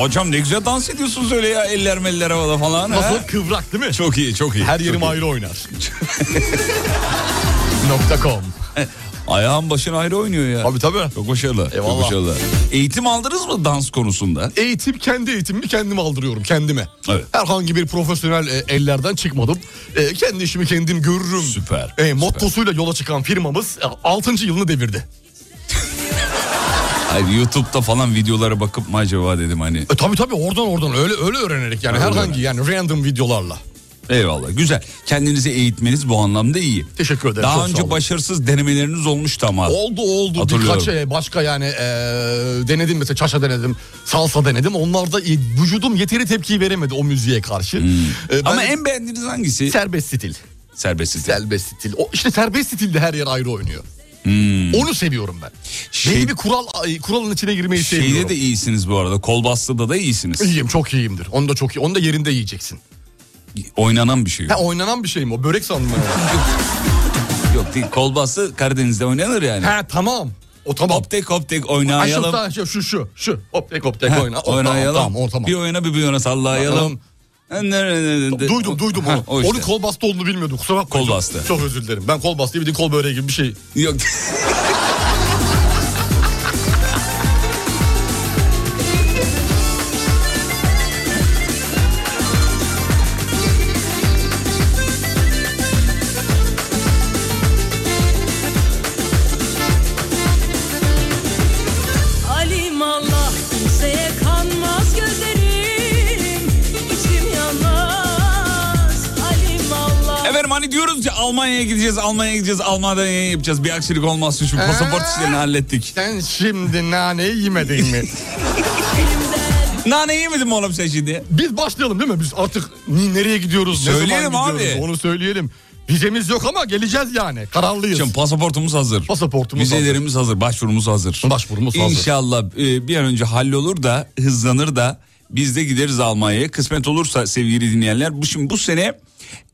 Speaker 2: Hocam ne güzel dans ediyorsunuz öyle ya eller meller havada falan.
Speaker 3: Nasıl?
Speaker 2: Kıvrak değil mi? Çok iyi çok iyi.
Speaker 3: Her yerim
Speaker 2: Çok iyi.
Speaker 3: ayrı oynar. Nokta com.
Speaker 2: Ayağın başın ayrı oynuyor ya. Tabii tabii. Çok başarılı. Çok
Speaker 3: Eyvallah.
Speaker 2: başarılı. Eğitim aldınız mı dans konusunda?
Speaker 3: Eğitim kendi eğitimimi kendim aldırıyorum kendime.
Speaker 2: Evet.
Speaker 3: Herhangi bir profesyonel e, ellerden çıkmadım. E, kendi işimi kendim görürüm. Süper. E, mottosuyla yola çıkan firmamız 6. yılını devirdi.
Speaker 2: Hayır, YouTube'da falan videolara bakıp mı acaba dedim hani.
Speaker 3: E, tabii tabii oradan oradan öyle öyle öğrenerek yani
Speaker 2: Öyle
Speaker 3: herhangi yani random videolarla.
Speaker 2: Eyvallah güzel. Kendinizi eğitmeniz bu anlamda iyi.
Speaker 3: Teşekkür ederim.
Speaker 2: Daha
Speaker 3: çok sağ
Speaker 2: önce
Speaker 3: olun.
Speaker 2: başarısız denemeleriniz olmuştu ama.
Speaker 3: Oldu oldu.
Speaker 2: Hatırlıyorum.
Speaker 3: Birkaç şey, başka yani e, denedim mesela çaşa denedim, salsa denedim. Onlarda e, vücudum yeteri tepkiyi veremedi o müziğe karşı. E,
Speaker 2: Ama en beğendiğiniz hangisi?
Speaker 3: Serbest stil.
Speaker 2: Serbest stil.
Speaker 3: Serbest stil. Hmm. O, işte serbest stilde her yer ayrı oynuyor. Onu seviyorum ben. Belli bir kural ay, kuralın içine girmeyi
Speaker 2: Şeyde
Speaker 3: seviyorum.
Speaker 2: de iyisiniz bu arada. Kol bastıda da iyisiniz.
Speaker 3: İyiyim çok iyiyimdir. Onu da çok iyi. Onu da yerinde yiyeceksin.
Speaker 2: Oynanan bir şey yok.
Speaker 3: Ha, oynanan bir şey mi o? Börek sandım ben.
Speaker 2: Yok değil. Kol bastı Karadeniz'de oynanır yani.
Speaker 3: ha tamam. O tamam.
Speaker 2: Hop tek hop tek
Speaker 3: Ha, şu-
Speaker 2: oynayalım.
Speaker 3: Şu, şu şu şu. Hop tek hop tek
Speaker 2: Ha,
Speaker 3: oyna. O,
Speaker 2: oynayalım.
Speaker 3: Tamam, tamam, o, tamam.
Speaker 2: Bir oyna bir bir oyna sallayalım.
Speaker 3: Duydum duydum onu.
Speaker 2: Ha, o işte.
Speaker 3: Onun kol bastı olduğunu bilmiyordum kusura bakmayın.
Speaker 2: Kol
Speaker 3: Çok-
Speaker 2: bastı.
Speaker 3: Çok özür dilerim. Ben kol bastı bir de kol böreği gibi bir şey.
Speaker 2: Yok.
Speaker 1: Alim Allah kimseye kanmaz gözlerim içim yanmaz Alim Allah
Speaker 2: Efendim hani diyoruz ya Almanya'ya gideceğiz, Almanya'ya gideceğiz, Almanya'da yayın yapacağız. Bir aksilik olmazsa
Speaker 3: Ee?
Speaker 2: şu pasaport işlerini hallettik.
Speaker 3: Sen şimdi naneyi yemedin mi?
Speaker 2: Nane yemedim mi oğlum sen şimdi?
Speaker 3: Biz başlayalım değil mi? Biz artık ni- nereye gidiyoruz? ne zaman
Speaker 2: Söyleyelim abi.
Speaker 3: gidiyoruz, Onu söyleyelim. Vizemiz yok ama geleceğiz yani. Kararlıyız.
Speaker 2: Şimdi pasaportumuz hazır.
Speaker 3: Pasaportumuz
Speaker 2: Vizelerimiz hazır. başvurumuz hazır.
Speaker 3: Başvurumuz hazır.
Speaker 2: İnşallah e, bir an önce hallolur da hızlanır da biz de gideriz Almanya'ya. Kısmet olursa sevgili dinleyenler bu şimdi bu sene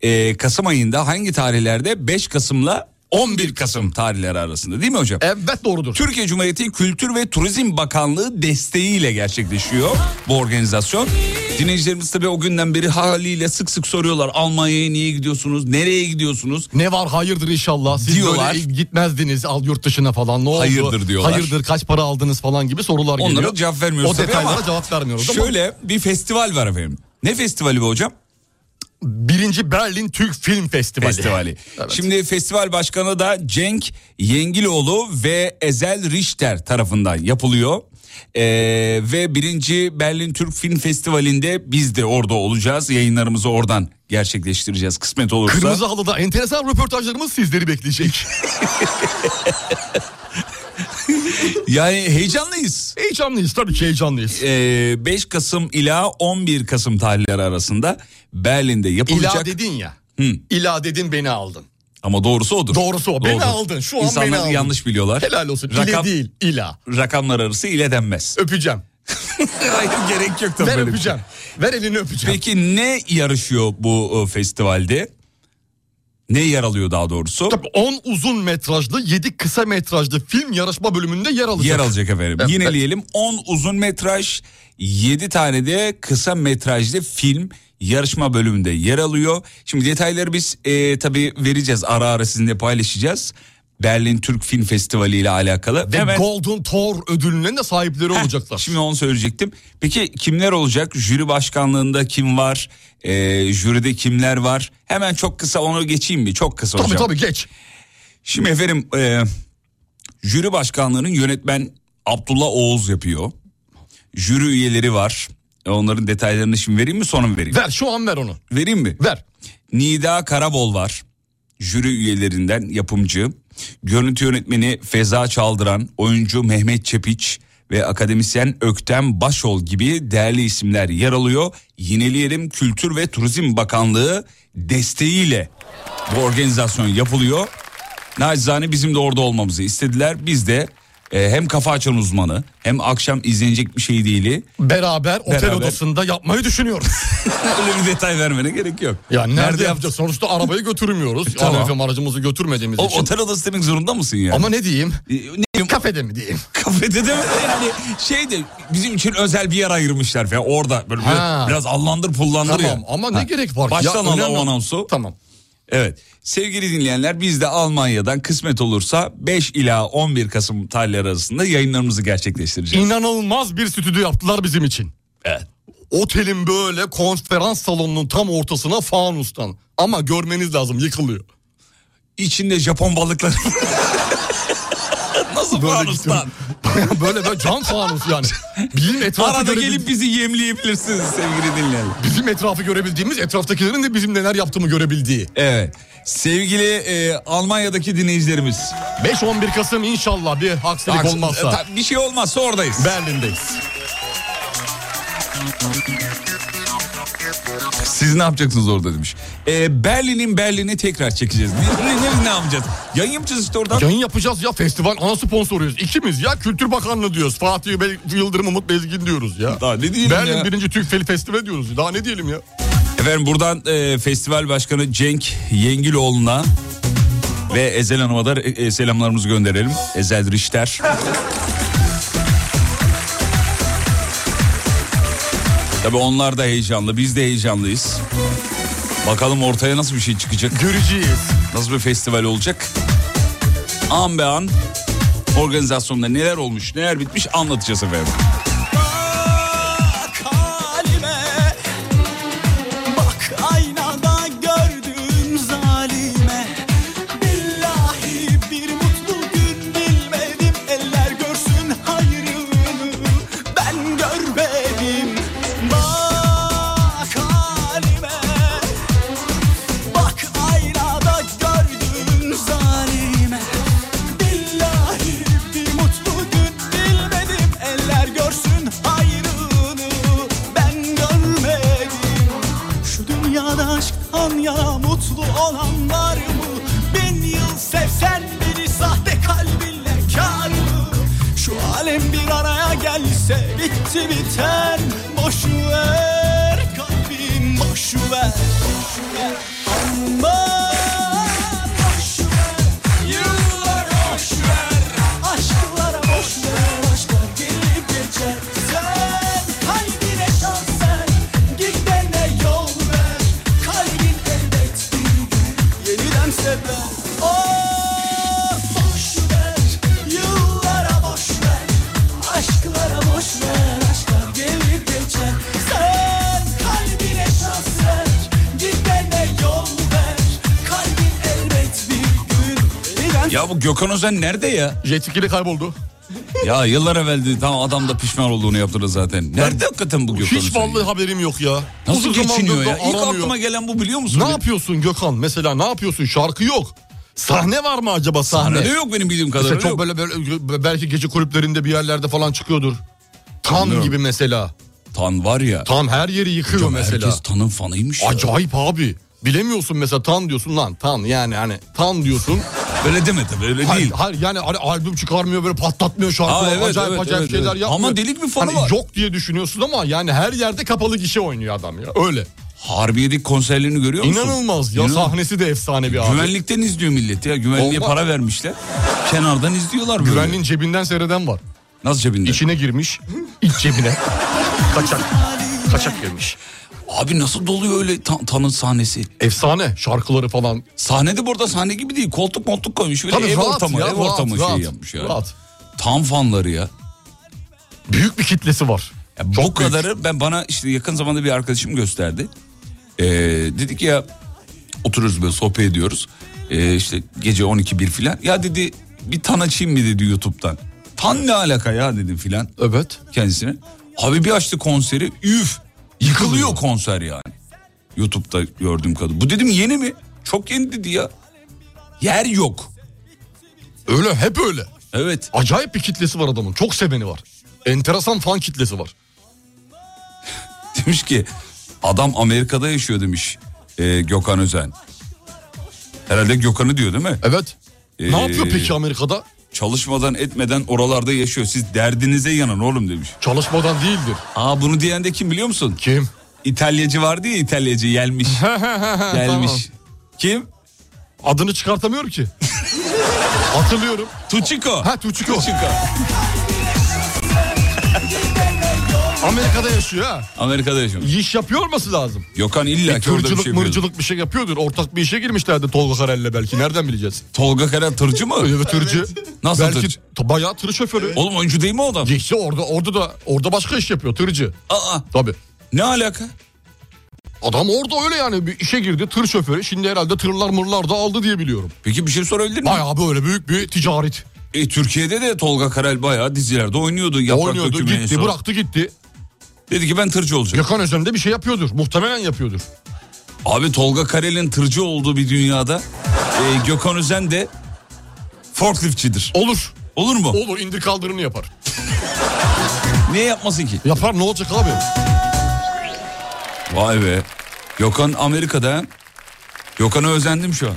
Speaker 2: e, Kasım ayında hangi tarihlerde 5 Kasım'la 11 Kasım tarihleri arasında değil mi hocam?
Speaker 3: Evet doğrudur.
Speaker 2: Türkiye Cumhuriyeti Kültür ve Turizm Bakanlığı desteğiyle gerçekleşiyor bu organizasyon. Dinleyicilerimiz tabii o günden beri haliyle sık sık soruyorlar Almanya'ya niye gidiyorsunuz, nereye gidiyorsunuz?
Speaker 3: Ne var hayırdır inşallah. Siz
Speaker 2: Diyorlar.
Speaker 3: böyle gitmezdiniz al yurt dışına falan. Ne oldu?
Speaker 2: Hayırdır diyorlar.
Speaker 3: Hayırdır kaç para aldınız falan gibi sorular geliyor.
Speaker 2: Onlara cevap vermiyoruz
Speaker 3: O
Speaker 2: tabii
Speaker 3: detaylara
Speaker 2: ama
Speaker 3: cevap vermiyoruz ama
Speaker 2: Şöyle bir festival var efendim. Ne festivali bu hocam?
Speaker 3: birinci Berlin Türk Film Festivali.
Speaker 2: Festivali. Şimdi festival başkanı da Cenk Yengiloğlu ve Ezel Richter tarafından yapılıyor. Ee, ve birinci Berlin Türk Film Festivali'nde biz de orada olacağız. Yayınlarımızı oradan gerçekleştireceğiz kısmet olursa.
Speaker 3: Kırmızı Halı'da enteresan röportajlarımız sizleri bekleyecek.
Speaker 2: Yani heyecanlıyız.
Speaker 3: heyecanlıyız tabii ki heyecanlıyız.
Speaker 2: Ee, 5 Kasım ila 11 Kasım tarihleri arasında Berlin'de yapılacak.
Speaker 3: İla dedin ya.
Speaker 2: Hı.
Speaker 3: İla dedin beni aldın.
Speaker 2: Ama doğrusu odur.
Speaker 3: Doğrusu o. Beni
Speaker 2: Doğrudur.
Speaker 3: aldın. Şu an
Speaker 2: İnsanlar
Speaker 3: beni aldın.
Speaker 2: yanlış biliyorlar.
Speaker 3: Helal olsun. İle
Speaker 2: Rakam-
Speaker 3: değil. İla.
Speaker 2: Rakamlar arası ile denmez.
Speaker 3: Öpeceğim.
Speaker 2: Hayır gerek yok tabii
Speaker 3: Ver
Speaker 2: böyle bir
Speaker 3: öpeceğim. Ver elini öpeceğim.
Speaker 2: Peki ne yarışıyor bu e, festivalde? Ne yer alıyor daha doğrusu?
Speaker 3: Tabii 10 uzun metrajlı 7 kısa metrajlı film yarışma bölümünde yer alacak.
Speaker 2: Yer alacak efendim.
Speaker 3: Evet.
Speaker 2: Yineleyelim. 10 uzun metraj, 7 tane de kısa metrajlı film yarışma bölümünde yer alıyor. Şimdi detayları biz e, tabii vereceğiz. Ara ara sizinle paylaşacağız. Berlin Türk Film Festivali ile alakalı.
Speaker 3: Ve
Speaker 2: Hemen-
Speaker 3: Golden Thor ödülünün de sahipleri
Speaker 2: Heh,
Speaker 3: olacaklar.
Speaker 2: Şimdi onu söyleyecektim. Peki kimler olacak? Jüri başkanlığında kim var? E, jüride kimler var? Hemen çok kısa onu geçeyim mi? Çok kısa
Speaker 3: Tabii
Speaker 2: hocam.
Speaker 3: tabii geç.
Speaker 2: Şimdi efendim e, jüri başkanlığının yönetmen Abdullah Oğuz yapıyor. Jüri üyeleri var. E, Onların detaylarını şimdi vereyim mi sonra mı vereyim?
Speaker 3: Ver şu an ver onu.
Speaker 2: Vereyim mi?
Speaker 3: Ver.
Speaker 2: Nida Karabol var. Jüri üyelerinden yapımcı. Görüntü yönetmeni Feza Çaldıran, oyuncu Mehmet Çepiç ve akademisyen Öktem Başol gibi değerli isimler yer alıyor. Yineleyelim Kültür ve Turizm Bakanlığı desteğiyle bu organizasyon yapılıyor. Nacizane bizim de orada olmamızı istediler. Biz de e, e, hem kafa açan uzmanı hem akşam izlenecek bir şey değili.
Speaker 3: Beraber otel
Speaker 2: Beraber.
Speaker 3: odasında yapmayı düşünüyoruz.
Speaker 2: Öyle bir detay vermene gerek yok.
Speaker 3: Ya nerede,
Speaker 2: Nerede E,
Speaker 3: yapacağız? Sonuçta arabayı götürmüyoruz.
Speaker 2: Tamam.
Speaker 3: Tamam. aracımızı götürmediğimiz
Speaker 2: O
Speaker 3: için.
Speaker 2: otel odası demek zorunda mısın yani?
Speaker 3: Ama ne diyeyim?
Speaker 2: Ee, ne diyeyim?
Speaker 3: Kafede mi diyeyim?
Speaker 2: Kafede de mi? yani şey de bizim için özel bir yer ayırmışlar falan orada böyle biraz,
Speaker 3: Ha.
Speaker 2: biraz allandır pullandır
Speaker 3: Tamam
Speaker 2: ya.
Speaker 3: ama ne gerek var?
Speaker 2: Baştan
Speaker 3: Ya
Speaker 2: al
Speaker 3: önemli-
Speaker 2: o anonsu.
Speaker 3: Tamam.
Speaker 2: Evet sevgili dinleyenler biz de Almanya'dan kısmet olursa 5 ila 11 Kasım tarihleri arasında yayınlarımızı gerçekleştireceğiz.
Speaker 3: İnanılmaz bir stüdyo yaptılar bizim için.
Speaker 2: Evet.
Speaker 3: Otelin böyle konferans salonunun tam ortasına fanustan. Ama görmeniz lazım yıkılıyor.
Speaker 2: İçinde Japon balıkları. Nasıl
Speaker 3: Böyle şey
Speaker 2: fanustan?
Speaker 3: gidiyorum. böyle böyle cam fanus yani. Bizim etrafı
Speaker 2: Arada
Speaker 3: görebil-
Speaker 2: gelip bizi yemleyebilirsiniz sevgili dinleyenler.
Speaker 3: bizim etrafı görebildiğimiz etraftakilerin de bizim neler yaptığımı görebildiği.
Speaker 2: Evet. Sevgili e, Almanya'daki dinleyicilerimiz.
Speaker 3: 5-11 Kasım inşallah bir haksızlık
Speaker 2: Haksız-
Speaker 3: olmazsa
Speaker 2: Ta- Bir şey olmazsa oradayız.
Speaker 3: Berlin'deyiz.
Speaker 2: Siz ne yapacaksınız orada demiş. E, Berlin'in Berlin'e tekrar çekeceğiz. Ne, ne, ne, ne yapacağız? Yayın yapacağız işte oradan.
Speaker 3: Yayın yapacağız ya festival ana sponsoruyuz. İkimiz ya Kültür Bakanlığı diyoruz. Fatih Bey, Yıldırım Umut Bezgin diyoruz ya.
Speaker 2: Daha ne diyelim
Speaker 3: Berlin
Speaker 2: ya?
Speaker 3: birinci Türk Fel Festivali diyoruz. Daha ne diyelim ya?
Speaker 2: Efendim buradan e, festival başkanı Cenk Yengiloğlu'na ve Ezel Hanım'a da e, selamlarımızı gönderelim. Ezel Richter. Tabii onlar da heyecanlı, biz de heyecanlıyız. Bakalım ortaya nasıl bir şey çıkacak,
Speaker 3: Göreceğiz.
Speaker 2: nasıl bir festival olacak. An be an organizasyonda neler olmuş, neler bitmiş anlatacağız efendim.
Speaker 1: Bak halime Bak aynada gördüğüm zalime Billahi bir mutlu gün bilmedim Eller görsün hayrımı ben görmedim Bak halime Bak aynada gördüğüm zalime Billahi bir mutlu gün bilmedim Eller görsün hayrını ben görmedim Şu dünyada aşktan yana mutlu olan var mı? Bin yıl sevsen beni sahte kalbinle kar mı? Şu alem bir araya gelse bitti biten Boş ver kalbim boş ver Aman boş ver Yıllar boş ver Aşklara boş ver Aşklar gelip geçer Sen kalbine şans ver Gidene yol ver Kalbin elbet bir gün Yeniden sever Oh boş ver Yıllara boş ver Aşklara boş ver Aşklar gelip geçer Sen kalbine şans ver Gidene yol ver Kalbin elbet bir gün Yeniden
Speaker 2: Ya bu Gökhan Özen nerede ya?
Speaker 3: Jet ski'li kayboldu.
Speaker 2: Ya yıllar evveldi tam adam da pişman olduğunu yaptırdı zaten. Nerede hakikaten bu Gökhan
Speaker 3: Hiç
Speaker 2: Özen
Speaker 3: vallahi
Speaker 2: ya?
Speaker 3: haberim yok ya.
Speaker 2: Nasıl
Speaker 3: Uzun
Speaker 2: geçiniyor
Speaker 3: zamandır da
Speaker 2: ya? İlk
Speaker 3: aranıyor.
Speaker 2: aklıma gelen bu biliyor musun? Hani
Speaker 3: Ne yapıyorsun Gökhan? Mesela ne yapıyorsun? Şarkı yok. Sahne var mı acaba sahne?
Speaker 2: Sahnede yok benim bildiğim
Speaker 3: Mesela
Speaker 2: kadarıyla
Speaker 3: çok
Speaker 2: yok.
Speaker 3: böyle, böyle belki gece kulüplerinde bir yerlerde falan çıkıyordur. Tan
Speaker 2: Bilmiyorum.
Speaker 3: gibi mesela.
Speaker 2: Tan var ya.
Speaker 3: Tan her yeri yıkıyor
Speaker 2: hocam
Speaker 3: mesela.
Speaker 2: Herkes Tan'ın fanıymış ya.
Speaker 3: Acayip abi. Bilemiyorsun mesela tan diyorsun lan tan yani hani tan diyorsun.
Speaker 2: Öyle deme tabii öyle
Speaker 3: hayır,
Speaker 2: değil.
Speaker 3: hayır yani hani albüm çıkarmıyor böyle patlatmıyor şarkılar
Speaker 2: Aa, evet,
Speaker 3: acayip
Speaker 2: evet,
Speaker 3: acayip
Speaker 2: evet,
Speaker 3: şeyler
Speaker 2: evet.
Speaker 3: yapmıyor.
Speaker 2: Ama delik bir fanı
Speaker 3: Hani
Speaker 2: var.
Speaker 3: Yok diye düşünüyorsun ama yani her yerde kapalı gişe oynuyor adam ya öyle.
Speaker 2: Harbiye'deki konserlerini görüyor musun?
Speaker 3: İnanılmaz ya
Speaker 2: İnanılmaz.
Speaker 3: sahnesi de efsane bir abi.
Speaker 2: Güvenlikten izliyor millet ya. Güvenliğe
Speaker 3: Olmaz.
Speaker 2: para vermişler. Kenardan izliyorlar böyle.
Speaker 3: Güvenliğin cebinden seyreden var.
Speaker 2: Nasıl cebinde?
Speaker 3: İçine girmiş iç cebine kaçak kaçak girmiş.
Speaker 2: Abi nasıl doluyor öyle Tan- Tan'ın sahnesi?
Speaker 3: Efsane şarkıları falan.
Speaker 2: Sahnede burada sahne gibi değil. Koltuk montluk koymuş. Böyle
Speaker 3: Tabii
Speaker 2: ev
Speaker 3: rahat
Speaker 2: ortamı,
Speaker 3: ya,
Speaker 2: ev
Speaker 3: rahat,
Speaker 2: ortamı
Speaker 3: rahat,
Speaker 2: şey yapmış ya.
Speaker 3: rahat.
Speaker 2: Tan fanları ya.
Speaker 3: Büyük bir kitlesi var.
Speaker 2: Ya bu
Speaker 3: Çok büyük.
Speaker 2: kadarı ben bana işte yakın zamanda bir arkadaşım gösterdi. Ee, dedi ki ya oturuyoruz böyle sohbet ediyoruz. Ee, işte gece 12 bir filan. Ya dedi bir tan açayım mı dedi YouTube'dan. Tan ne alaka ya dedim filan
Speaker 3: Evet.
Speaker 2: kendisine. Abi bir açtı konseri üf yıkılıyor konser yani. YouTube'da gördüğüm kadın. Bu dedim yeni mi? Çok yeni dedi ya. Yer yok.
Speaker 3: Öyle hep öyle.
Speaker 2: Evet.
Speaker 3: Acayip bir kitlesi var adamın. Çok seveni var. Enteresan fan kitlesi var.
Speaker 2: Demiş ki adam Amerika'da yaşıyor demiş ee, Gökhan Özen. Herhalde Gökhan'ı diyor değil mi?
Speaker 3: Evet.
Speaker 2: Ee,
Speaker 3: Ne yapıyor peki Amerika'da?
Speaker 2: Çalışmadan etmeden oralarda yaşıyor. Siz derdinize yanın oğlum demiş.
Speaker 3: Çalışmadan değildir.
Speaker 2: Aa bunu diyen de kim biliyor musun?
Speaker 3: Kim?
Speaker 2: İtalyacı vardı ya İtalyacı gelmiş. gelmiş. Kim?
Speaker 3: Adını çıkartamıyorum ki. Hatırlıyorum.
Speaker 2: Tuçiko.
Speaker 3: Ha Tuçiko. Amerika'da yaşıyor ha.
Speaker 2: Amerika'da yaşıyor.
Speaker 3: İş yapıyor olması lazım.
Speaker 2: Yokan illa
Speaker 3: Bir
Speaker 2: ki orada bir
Speaker 3: tırcılık
Speaker 2: şey yapıyordu.
Speaker 3: mırcılık bir şey yapıyordur. Ortak bir işe girmişlerdi Tolga Karel'le belki. Nereden bileceğiz?
Speaker 2: Tolga Kara tırcı mı?
Speaker 3: Evet tırcı.
Speaker 2: Nasıl
Speaker 3: belki
Speaker 2: tırcı?
Speaker 3: t- Bayağı tır şoförü.
Speaker 2: Oğlum oyuncu değil mi o adam?
Speaker 3: İşte orada, orada da orada başka iş yapıyor tırcı.
Speaker 2: Aa
Speaker 3: Tabii.
Speaker 2: ne alaka?
Speaker 3: Adam orada öyle yani bir işe girdi tır şoförü. Şimdi herhalde tırlar mırlar da aldı diye biliyorum.
Speaker 2: Peki bir şey sorabilir miyim?
Speaker 3: Bayağı böyle büyük bir ticaret.
Speaker 2: E, Türkiye'de de Tolga Karel bayağı dizilerde oynuyordu. Yaprak
Speaker 3: Oynuyordu
Speaker 2: Dökümü'ne en
Speaker 3: gitti
Speaker 2: son.
Speaker 3: bıraktı gitti.
Speaker 2: Dedi ki ben tırcı olacağım.
Speaker 3: Gökhan Özen de bir şey yapıyordur. Muhtemelen yapıyordur.
Speaker 2: Abi Tolga Karel'in tırcı olduğu bir dünyada e, Gökhan Özen de forkliftçidir.
Speaker 3: Olur.
Speaker 2: Olur mu?
Speaker 3: Olur indir kaldırını yapar.
Speaker 2: Niye yapmasın ki?
Speaker 3: Yapar ne olacak abi?
Speaker 2: Vay be. Gökhan Amerika'da. ha? Gökhan'a özendim şu an.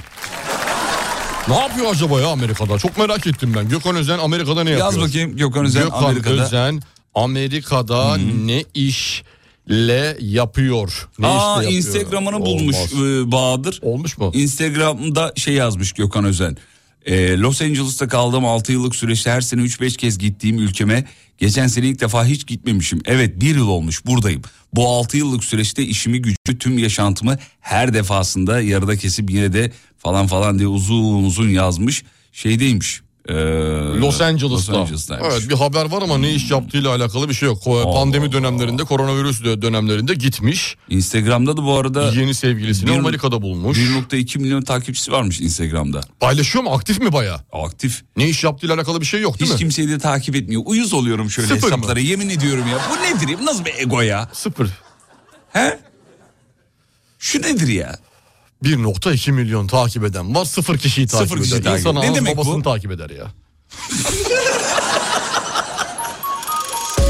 Speaker 3: Ne yapıyor acaba ya Amerika'da? Çok merak ettim ben. Gökhan Özen Amerika'da ne yapıyor?
Speaker 2: Yaz bakayım Gökhan Özen
Speaker 3: Gökhan
Speaker 2: Amerika'da.
Speaker 3: Özen Amerika'da ne işle yapıyor? Ne
Speaker 2: Aa
Speaker 3: işle yapıyor?
Speaker 2: Instagram'ını bulmuş
Speaker 3: Olmaz.
Speaker 2: e, Bahadır.
Speaker 3: Olmuş mu?
Speaker 2: Instagram'da şey yazmış Gökhan Özen. Ee, Los Angeles'ta kaldığım 6 yıllık süreçte her sene 3-5 kez gittiğim ülkeme geçen sene ilk defa hiç gitmemişim. Evet bir yıl olmuş buradayım. Bu 6 yıllık süreçte işimi gücü tüm yaşantımı her defasında yarıda kesip yine de falan falan diye uzun uzun yazmış. Şeydeymiş. ee,
Speaker 3: Los Angeles'ta.
Speaker 2: Los Angeles'taymış.
Speaker 3: Evet bir haber var ama ne iş yaptığıyla alakalı bir şey yok. Ko-
Speaker 2: Allah
Speaker 3: Pandemi
Speaker 2: Allah.
Speaker 3: dönemlerinde, koronavirüs dö- dönemlerinde gitmiş.
Speaker 2: Instagram'da da bu arada
Speaker 3: Yeni sevgilisini
Speaker 2: Bir-
Speaker 3: Amerika'da bulmuş.
Speaker 2: 1.2 milyon takipçisi varmış Instagram'da.
Speaker 3: Paylaşıyor mu? Aktif mi bayağı?
Speaker 2: Aktif.
Speaker 3: Ne iş yaptığıyla alakalı bir şey yok değil
Speaker 2: Hiç
Speaker 3: mi?
Speaker 2: kimseyi de takip etmiyor. Uyuz oluyorum şöyle
Speaker 3: Sıfır mı?
Speaker 2: hesaplara. Yemin ediyorum ya. Bu nedir ya? Bu Nasıl bir ego ya?
Speaker 3: Sıfır.
Speaker 2: He? Şu nedir ya?
Speaker 3: 1.2 milyon takip eden var. Sıfır kişiyi takip
Speaker 2: Sıfır
Speaker 3: eder.
Speaker 2: kişi takip
Speaker 3: İnsan
Speaker 2: eder. Ne
Speaker 3: ağız
Speaker 2: demek bu?
Speaker 3: babasını takip eder ya.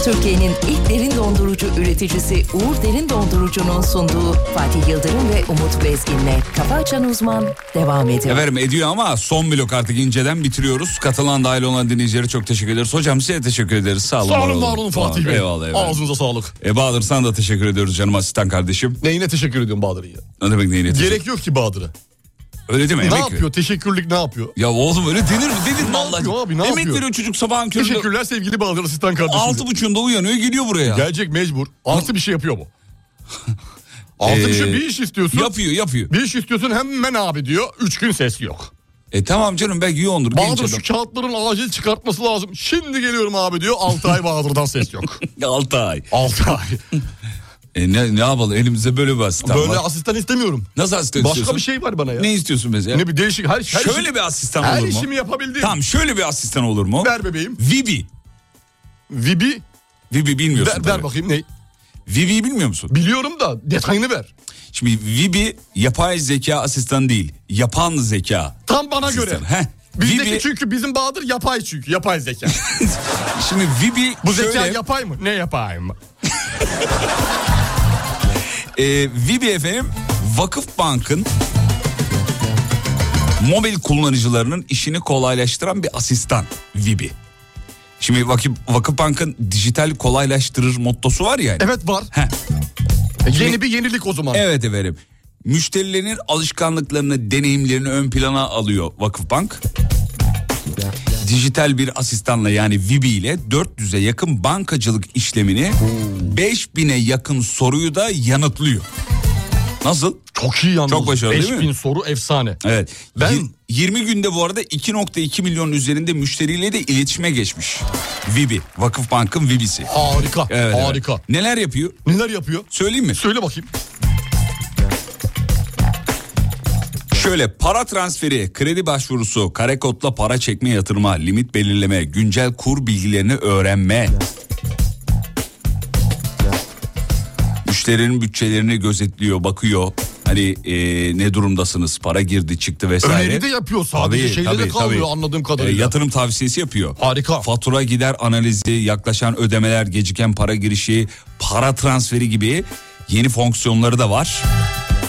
Speaker 6: Türkiye'nin ilk derin dondurucu üreticisi Uğur Derin Dondurucu'nun sunduğu Fatih Yıldırım ve Umut Bezgin'le Kafa Açan Uzman devam ediyor.
Speaker 2: Efendim ediyor ama son blok artık inceden bitiriyoruz. Katılan dahil olan dinleyicilere çok teşekkür ederiz. Hocam size teşekkür ederiz. Sağ olun.
Speaker 3: Sağ
Speaker 2: var
Speaker 3: olun var olun Fatih
Speaker 2: Tamam,
Speaker 3: Bey.
Speaker 2: Eyvallah eyvallah.
Speaker 3: Ağzınıza sağlık.
Speaker 2: E Bahadır sana da teşekkür ediyoruz canım asistan kardeşim.
Speaker 3: Neyine teşekkür ediyorum Bahadır'ı ya?
Speaker 2: Ne demek neyine teşekkür-
Speaker 3: Gerek yok ki Bahadır'a.
Speaker 2: Öyle değil mi?
Speaker 3: Ne
Speaker 2: Emek
Speaker 3: yapıyor? Teşekkürlük ne yapıyor?
Speaker 2: Ya oğlum öyle denir mi? Denir mi Allah
Speaker 3: yapıyor abi, ne
Speaker 2: Emek
Speaker 3: yapıyor?
Speaker 2: veriyor çocuk sabahın köründe.
Speaker 3: Teşekkürler sevgili Bahadır asistan kardeşim.
Speaker 2: Altı buçuğunda uyanıyor geliyor buraya.
Speaker 3: Gelecek mecbur. Artı bir şey yapıyor mu? Artı bir şey
Speaker 2: Ee,
Speaker 3: bir iş istiyorsun.
Speaker 2: Yapıyor yapıyor.
Speaker 3: Bir iş istiyorsun hemen abi diyor. Üç gün ses yok.
Speaker 2: E tamam canım belki yoğundur. genç
Speaker 3: Bahadır
Speaker 2: adam.
Speaker 3: şu kağıtların acil çıkartması lazım. Şimdi geliyorum abi diyor. Altı ay Bahadır'dan ses yok.
Speaker 2: Altı ay.
Speaker 3: Altı ay.
Speaker 2: E ne, ne yapalım elimize böyle bir asistan
Speaker 3: Böyle
Speaker 2: var.
Speaker 3: asistan istemiyorum.
Speaker 2: Nasıl asistan
Speaker 3: Başka
Speaker 2: istiyorsun?
Speaker 3: bir şey var bana ya.
Speaker 2: Ne istiyorsun mesela?
Speaker 3: Ne bir değişik her, her
Speaker 2: şöyle
Speaker 3: işi-
Speaker 2: bir asistan
Speaker 3: her
Speaker 2: olur mu?
Speaker 3: işimi yapabildiğim.
Speaker 2: Tamam şöyle bir asistan olur mu?
Speaker 3: Ver bebeğim.
Speaker 2: Vibi.
Speaker 3: Vibi
Speaker 2: Vibi bilmiyorsun
Speaker 3: ver,
Speaker 2: tabii.
Speaker 3: ver bakayım ne?
Speaker 2: Vibi'yi bilmiyor musun?
Speaker 3: Biliyorum da detayını ver.
Speaker 2: Şimdi Vibi yapay zeka asistanı değil. Yapan zeka.
Speaker 3: Tam bana
Speaker 2: asistanı.
Speaker 3: göre.
Speaker 2: Heh.
Speaker 3: Bizdeki
Speaker 2: Vibi,
Speaker 3: çünkü bizim Bahadır yapay çünkü yapay zeka.
Speaker 2: şimdi Vibi
Speaker 3: Bu
Speaker 2: şöyle,
Speaker 3: zeka yapay mı? Ne yapay mı?
Speaker 2: e, Vibi efendim Vakıf Bank'ın mobil kullanıcılarının işini kolaylaştıran bir asistan Vibi. Şimdi Vakıf, Vakıf Bank'ın dijital kolaylaştırır mottosu var ya. hani.
Speaker 3: Evet var. E,
Speaker 2: Heh.
Speaker 3: Yeni bir yenilik o zaman.
Speaker 2: Evet efendim. Müşterilerin alışkanlıklarını, deneyimlerini ön plana alıyor Vakıfbank. Dijital bir asistanla yani Vibi ile 400'e yakın bankacılık işlemini 5000'e yakın soruyu da yanıtlıyor. Nasıl?
Speaker 3: Çok iyi yalnız.
Speaker 2: Çok başarılı değil mi?
Speaker 3: 5000 soru efsane.
Speaker 2: Evet.
Speaker 3: Ben-
Speaker 2: Yir- 20 günde bu arada 2.2 milyon üzerinde müşteriyle de iletişime geçmiş. Vibi, Vakıfbank'ın Vibi'si.
Speaker 3: Harika.
Speaker 2: Evet, evet.
Speaker 3: harika.
Speaker 2: Neler yapıyor?
Speaker 3: Neler yapıyor?
Speaker 2: Söyleyeyim mi?
Speaker 3: Söyle bakayım.
Speaker 2: Şöyle para transferi, kredi başvurusu, kare kodla para çekme yatırma, limit belirleme, güncel kur bilgilerini öğrenme. Müşterinin bütçelerini gözetliyor, bakıyor. Hani eee, ne durumdasınız, para girdi çıktı vesaire.
Speaker 3: Öneri de yapıyor sadece. Şeyde de kalmıyor anladığım kadarıyla.
Speaker 2: E, yatırım tavsiyesi yapıyor.
Speaker 3: Harika.
Speaker 2: Fatura gider analizi, yaklaşan ödemeler, geciken para girişi, para transferi gibi yeni fonksiyonları da var.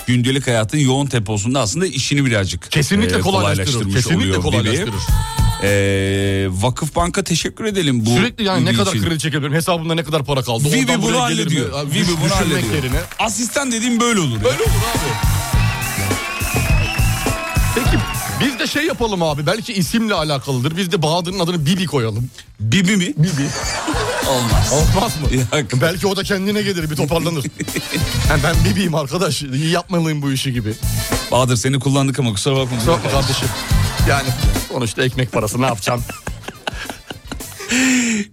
Speaker 2: Gündelik hayatın yoğun temposunda aslında işini birazcık
Speaker 3: Kesinlikle
Speaker 2: e,
Speaker 3: kolaylaştırır. Kesinlikle
Speaker 2: oluyor
Speaker 3: kolaylaştırır.
Speaker 2: Bibi. Ee, Vakıf Bank'a teşekkür edelim bu.
Speaker 3: Sürekli yani ne
Speaker 2: ilgi
Speaker 3: kadar
Speaker 2: için.
Speaker 3: kredi çekebilirim? Hesabımda ne kadar para kaldı?
Speaker 2: Vivi
Speaker 3: Oradan
Speaker 2: bunu
Speaker 3: buraya gelir mi?
Speaker 2: hallediyor.
Speaker 3: Abi,
Speaker 2: Vivi
Speaker 3: düş-
Speaker 2: bunu
Speaker 3: düşünmek
Speaker 2: hallediyor.
Speaker 3: yerine.
Speaker 2: Asistan dediğim böyle olur. Böyle olur abi.
Speaker 3: Peki biz de şey yapalım abi belki isimle alakalıdır. Biz de Bahadır'ın adını Bibi koyalım.
Speaker 2: Bibi mi?
Speaker 3: Bibi.
Speaker 2: Olmaz.
Speaker 3: Olmaz mı? Belki o da kendine gelir bir toparlanır. Yani ben Bibi'yim arkadaş iyi yapmalıyım bu işi gibi.
Speaker 2: Bahadır seni kullandık ama kusura bakma.
Speaker 3: Kusura bakma kardeşim. Yani sonuçta ekmek parası ne yapacağım?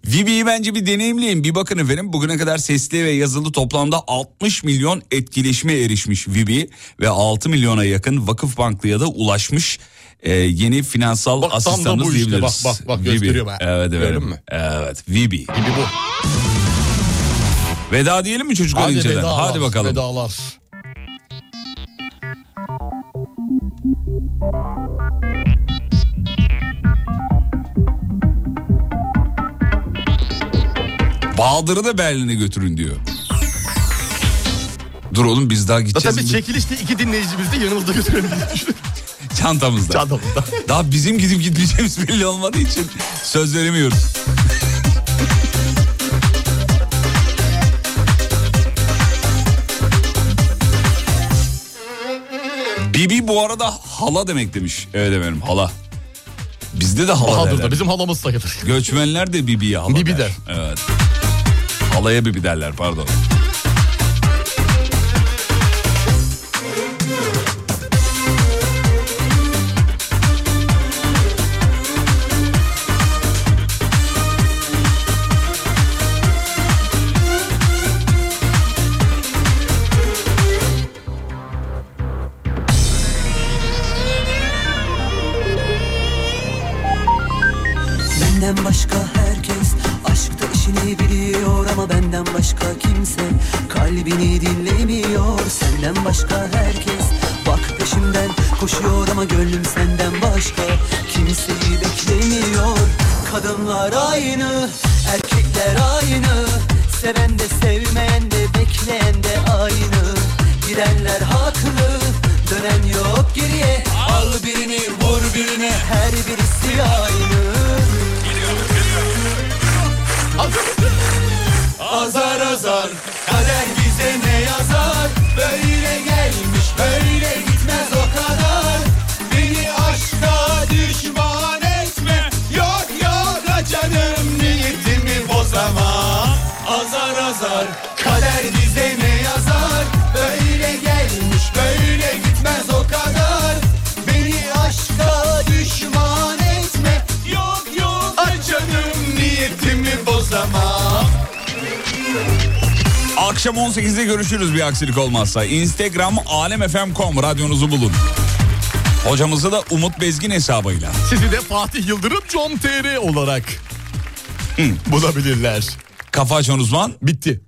Speaker 2: Vibi'yi bence bir deneyimleyin. Bir bakın efendim bugüne kadar sesli ve yazılı toplamda 60 milyon etkileşime erişmiş Vibi ve 6 milyona yakın vakıf banklıya da ulaşmış e, yeni finansal
Speaker 3: Bak, tam da bu
Speaker 2: asistanımız
Speaker 3: işte.
Speaker 2: diyebiliriz.
Speaker 3: Bak, bak, bak,
Speaker 2: Vibi.
Speaker 3: gösteriyor bak.
Speaker 2: Evet
Speaker 3: Gördün
Speaker 2: efendim.
Speaker 3: mü?
Speaker 2: Evet Vibi. Vibi
Speaker 3: bu.
Speaker 2: Veda diyelim mi çocuklar
Speaker 3: Hadi
Speaker 2: inceden?
Speaker 3: vedalar,
Speaker 2: Hadi bakalım.
Speaker 3: Vedalar.
Speaker 2: Bahadır'ı da Berlin'e götürün diyor. Dur oğlum biz daha gideceğiz.
Speaker 3: Zaten biz çekilişte iki dinleyicimizi de yanımızda götürelim diye düşündük.
Speaker 2: Çantamızda.
Speaker 3: Çantamızda.
Speaker 2: Daha bizim gidip gitmeyeceğimiz belli olmadığı için söz veremiyoruz. Bibi bu arada hala demek demiş. Evet efendim hala. Bizde de hala derler.
Speaker 3: Bahadır'da bizim halamız sayılır.
Speaker 2: Göçmenler de Bibi'ye hala
Speaker 3: Bibi der.
Speaker 2: Evet. Halaya Bibi derler pardon.
Speaker 1: Benden başka herkes aşkta işini biliyor ama benden başka kimse kalbini dinlemiyor. Senden başka herkes bak peşimden koşuyor ama gönlüm senden başka kimseyi beklemiyor. Kadınlar aynı, erkekler aynı, seven de sevmeyen de bekleyen de aynı. Gidenler haklı, dönen yok geriye. Al birini, vur birini, her birisi aynı.
Speaker 8: Azar azar kader bize ne yazar Böyle gelmiş böyle gitmez o kadar Beni aşka düşman etme Yok yok da canım niyetimi bozama Azar azar kader bize ne yazar Böyle gelmiş böyle gitmez o kadar Beni aşka düşman etme Yok yok da canım niyetimi bozama
Speaker 2: Akşam 18'de görüşürüz bir aksilik olmazsa. Instagram alemfm.com radyonuzu bulun. Hocamızı da Umut Bezgin hesabıyla.
Speaker 3: Sizi de Fatih Yıldırım Com.tr olarak bulabilirler.
Speaker 2: Kafa açan uzman
Speaker 3: bitti.